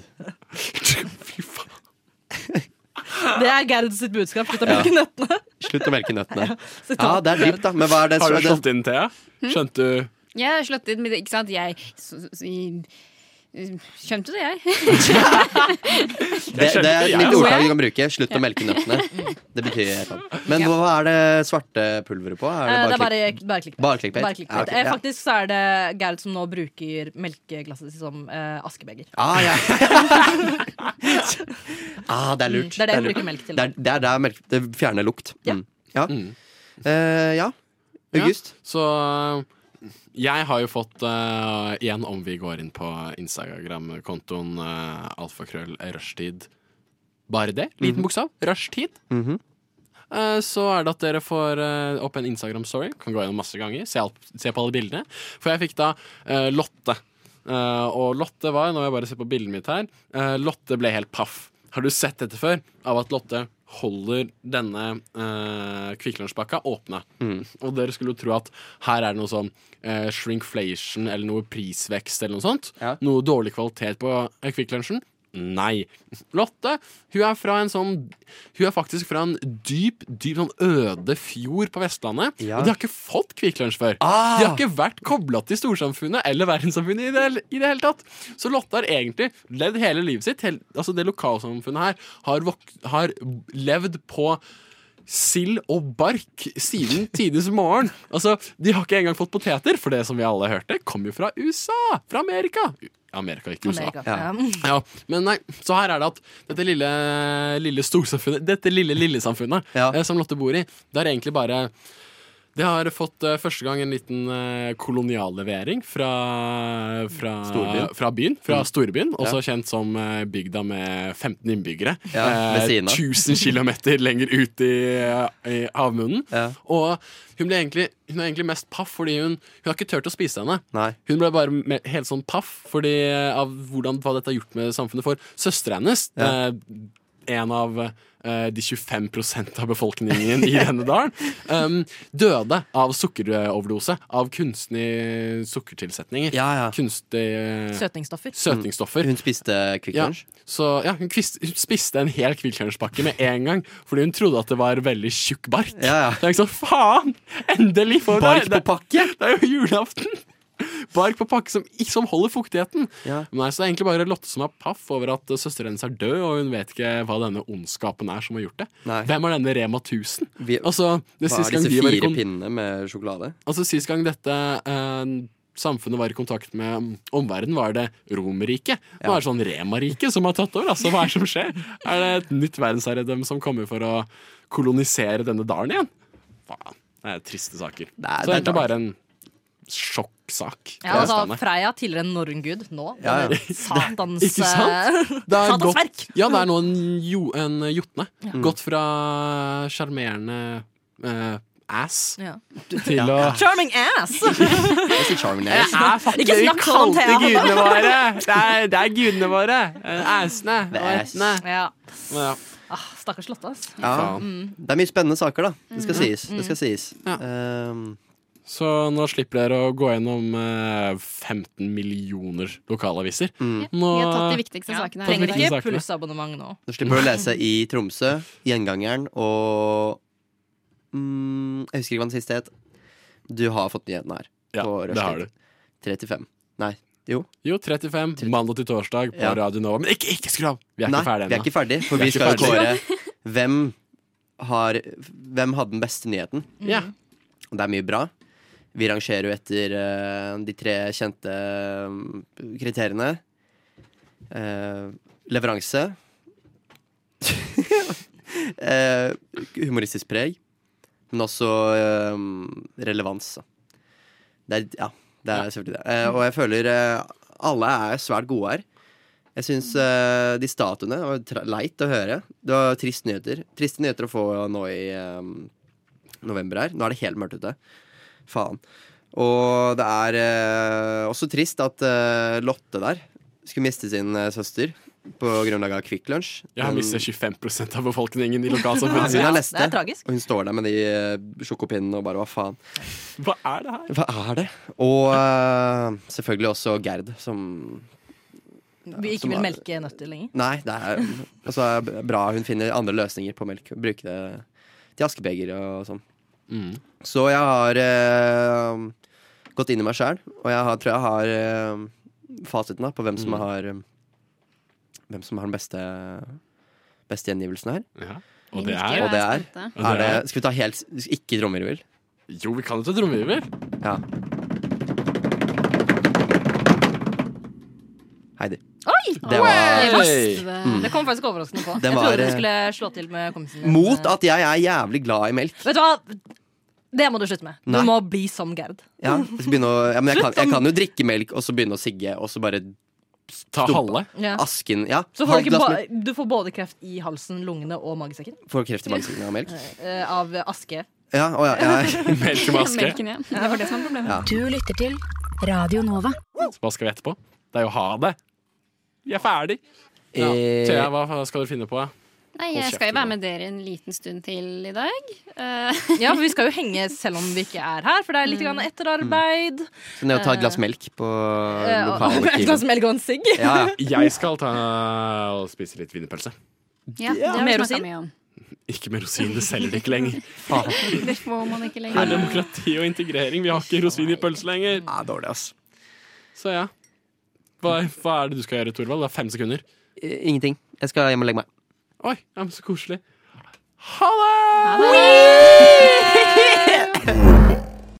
Det er Gerd sitt budskap. Slutt å
Ja.
melke nøttene.
Slutt å melke nøttene.
sitat.
Ja, Ah, det er dypt, da. Men hva er det
Har du
det-
slått inn, Thea? Skjønte du
Jeg har slått inn med det, ikke sant? Jeg så, så, så, Skjønte det, jeg.
Det, det er et
Ja.
nytt ordtak du kan bruke. Slutt å melke nøttene. Det betyr Men hva er det svarte pulveret på?
Eh,
Er det
Det er
bare,
bare,
klikk-
bare clickbait.
Bare clickbait?
Bare clickbait.
Ja, ok,
Eh,
ja.
Faktisk så er det Gerd som nå bruker melkeglasset sitt som eh, askebeger.
Ah, ja. ah, det er
Mm,
lurt.
det er det hun
lurt.
bruker melk til.
Det er, det er der melk, det fjerner lukt. Ja. Mm. ja. Eh, ja. August?
Ja, så eh, jeg har jo fått eh, Igjen om vi går inn på Instagram-kontoen eh, alfakrøll rushtid. Bare det? Liten bokstav. Rushtid. Eh, så er det at dere får eh, opp en Instagram-story. Kan gå gjennom masse ganger. Se, alt, se på alle bildene. For jeg fikk da eh, Lotte. Eh, og Lotte var, nå må jeg bare se på bildet mitt her, eh, Lotte ble helt paff. Har du sett dette før? Av at Lotte holder denne uh, Kvikk Lunsj-pakka åpne. Og dere skulle jo tro at her er det noe sånn eh, shrinkflation eller noe prisvekst eller noe sånt. Noe dårlig kvalitet på eh, Kvikk Lunsjen. Nei. Lotte hun er fra en sånn Hun er faktisk fra en dyp, dyp sånn øde fjord på Vestlandet. Og de har ikke fått Kvikk Lunsj før. De har ikke vært kobla til storsamfunnet eller verdenssamfunnet i det, hele- i det hele tatt. Så Lotte har egentlig levd hele livet sitt. hel- altså Det lokalsamfunnet her har, vok har levd på sild og bark siden tidenes morgen. Altså, De har ikke engang fått poteter, for det som vi alle hørte, kom jo fra USA! Fra Amerika! Amerika, ikke USA.
Amerika, ja.
Ja, men nei, Så her er det at dette lille, lille storsamfunnet, dette lille lillesamfunnet eh, som Lotte bor i, det har egentlig bare det har fått eh, første gang en liten eh, koloniallevering fra, fra
Storbyen.
Fra byen, fra
Mm.
storbyen også
Ja.
kjent som eh, bygda med 15 innbyggere.
Ja, ved
eh,
siden av.
1000 km lenger ut i, i havmunnen. Og hun, ble egentlig, hun er egentlig mest paff fordi hun, hun har ikke turt å spise henne. Hun ble bare me- helt sånn paff fordi eh, av hvordan, hva dette har gjort med samfunnet for søstera hennes.
Ja.
eh, en av eh, de 25 av befolkningen i denne dalen um, døde av sukkeroverdose. Av kunstig sukkertilsetninger. Kunstig eh,
Søtningsstoffer.
Søtningsstoffer.
Hun spiste Kvikk
Ja,
Lunsj?
så, ja, hun, kvist, hun spiste en hel Kvikk Lunsj-pakke med en gang fordi hun trodde at det var veldig tjukk bark. Det er ikke sånn, faen! Endelig! får hun
Bark
det,
på pakke!
Det, er jo julaften! Bark på pakke som, ikke- som holder fuktigheten. Nei, så Det er egentlig bare Lotte som er paff over at eh, søsteren hennes er død, og hun vet ikke hva denne ondskapen er som har gjort det. Hvem er denne Rema 1000? altså, det
Hva
siste
er
gang
disse
vi var i
fire
kon-
pinnene med sjokolade?
Altså Sist gang dette eh, samfunnet var i kontakt med mm, omverdenen, var det Romerriket. Nå er det sånn Remariket som har tatt over. Altså, hva er det som skjer? Er det et nytt verdensherredømme som kommer for å kolonisere denne dalen igjen? Faen. Det er triste saker. Så det er
det er
egentlig bare en sjokksak.
Ja,
for
altså
landet.
Freya, tidligere norngud, nå
Ja, ja.
denne satans
Ikke sant?
eh,
Det er
Satans
gått-
verk!
Ja, det er nå en, jo, en jotne.
Ja.
Gått fra sjarmerende eh, ass
Ja.
til å
Charming ass!
Jeg sier charming
ass. Ikke snakk sånn, Thea.
gudene våre. Det er, det er gudene våre. Eh, Æsene og
Æs.
æsene.
Ja.
Ja.
Ah, Stakkars Lotte, ass.
Ja.
Mm.
Det er mye spennende saker, da. Det skal
Mm.
sies.
Mm.
Det skal sies. Ehm,
Så nå slipper dere å gå gjennom eh, 15 millioner lokalaviser. Nå,
Vi har tatt de viktigste sakene.
Tatt de
Trenger
viktigste
ikke
sakene.
plussabonnement nå.
Du slipper å lese i Tromsø, Gjengangeren og mm, Jeg husker ikke hva den siste het. Du har fått nyheten her. Ja,
det har du.
35. Nei, jo.
Jo, 35. Mandag til torsdag på
Ja.
Radio Nova. Men ikke, ikke skru av! Vi er
Nei,
ikke ferdig
vi er ikke ferdig, for
Vi er
vi
ikke
skal jo
ferdig.
kåre hvem har Hvem hadde den beste nyheten.
Ja.
Og det er mye bra. Vi rangerer jo etter eh, de tre kjente eh, kriteriene. Eh, leveranse. Eh, humoristisk preg. Men også eh, relevans. da. Det er, ja, det er selvfølgelig det. Eh, og jeg føler eh, alle er svært gode her. Jeg syns eh, de statuene var tra- leit å høre. Det var trist nyheter. Triste nyheter å få nå i eh, november her. Nå er det helt mørkt ute. Faen. Og det er eh, også trist at eh, Lotte der skulle miste sin eh, søster på grunnlag av Kvikk Lunsj.
Jeg har
Men-
mistet 25 av befolkningen i
Ja,
lokalsamfunnet
hun
sitt.
er neste, Og hun står der med de eh, sjokopinnene og bare hva faen.
Hva er det her?
Hva er det? Og eh, selvfølgelig også Gerd, som
Vi ikke
som
vil
er-
melke nøtter lenger.
Nei, det er altså, er bra hun finner andre løsninger på melk. Bruke det til askebeger og sånn. Så jeg har eh, gått inn i meg sjæl, og jeg har, tror jeg har eh, fasiten da, på hvem som
Mm.
har eh, Hvem som har den beste, beste gjengivelsen her.
Ja. Og det er-
Og det er,
Jeg er spent, jeg.
er det, Skal vi ta helt ikke trommevirvel?
Jo, vi kan jo ta trommevirvel.
Ja. Heidi.
Oi!
Det var-
Fast.
Mm.
Det kom faktisk overraskende på.
Den
jeg
var,
trodde
eh,
du skulle slå til med kompisen din. eh,
Mot at jeg er jævlig glad i melk.
Vet du hva? Det må du slutte med. Du
Nei.
må bli som Gerd.
Ja, jeg skal begynne å, ja, men jeg, kan, jeg kan jo drikke melk, og så begynne å sigge, og så bare
Ta
stumpe
halve?
Ja.
Asken, ja.
Så får du,
halvt
ikke
glass
ba
melk.
du får både kreft i halsen, lungene og magesekken.
Får kreft i magen av melk?
Eh, av aske.
Ja, å ja, ja.
Melk
Melken, ja. Det var det som var problemet.
Ja.
Du lytter til
Radio Nova.
Så hva skal vi etterpå? Det er jo ha det. Vi er ferdig. Ja.
Eh.
Thea, hva skal du finne på?
Nei,
Hold
jeg skal
kjeft,
jo være med dere en liten stund til i dag. Eh,
Ja, for vi skal jo henge selv om vi ikke er her, for det er litt
Mm.
grann etterarbeid.
Så ned og ta et glass melk på
Eh,
Mm. lokale
et glass melk og en sigg.
Jeg skal ta og spise litt wienerpølse.
Ja, det har vi
Mer
snakka
rosin?
mye om.
Ikke med rosin, det selger det ikke lenger.
Det får man ikke
Det er
lenger.
demokrati og integrering. Vi har ikke rosin i pølse lenger. Ja, dårlig, ass. Så ja. Hva, hva er det du skal gjøre, Torvald? Det er fem sekunder.
Ingenting. Jeg skal hjem og legge meg.
Oi, ja, men så koselig. Ha det!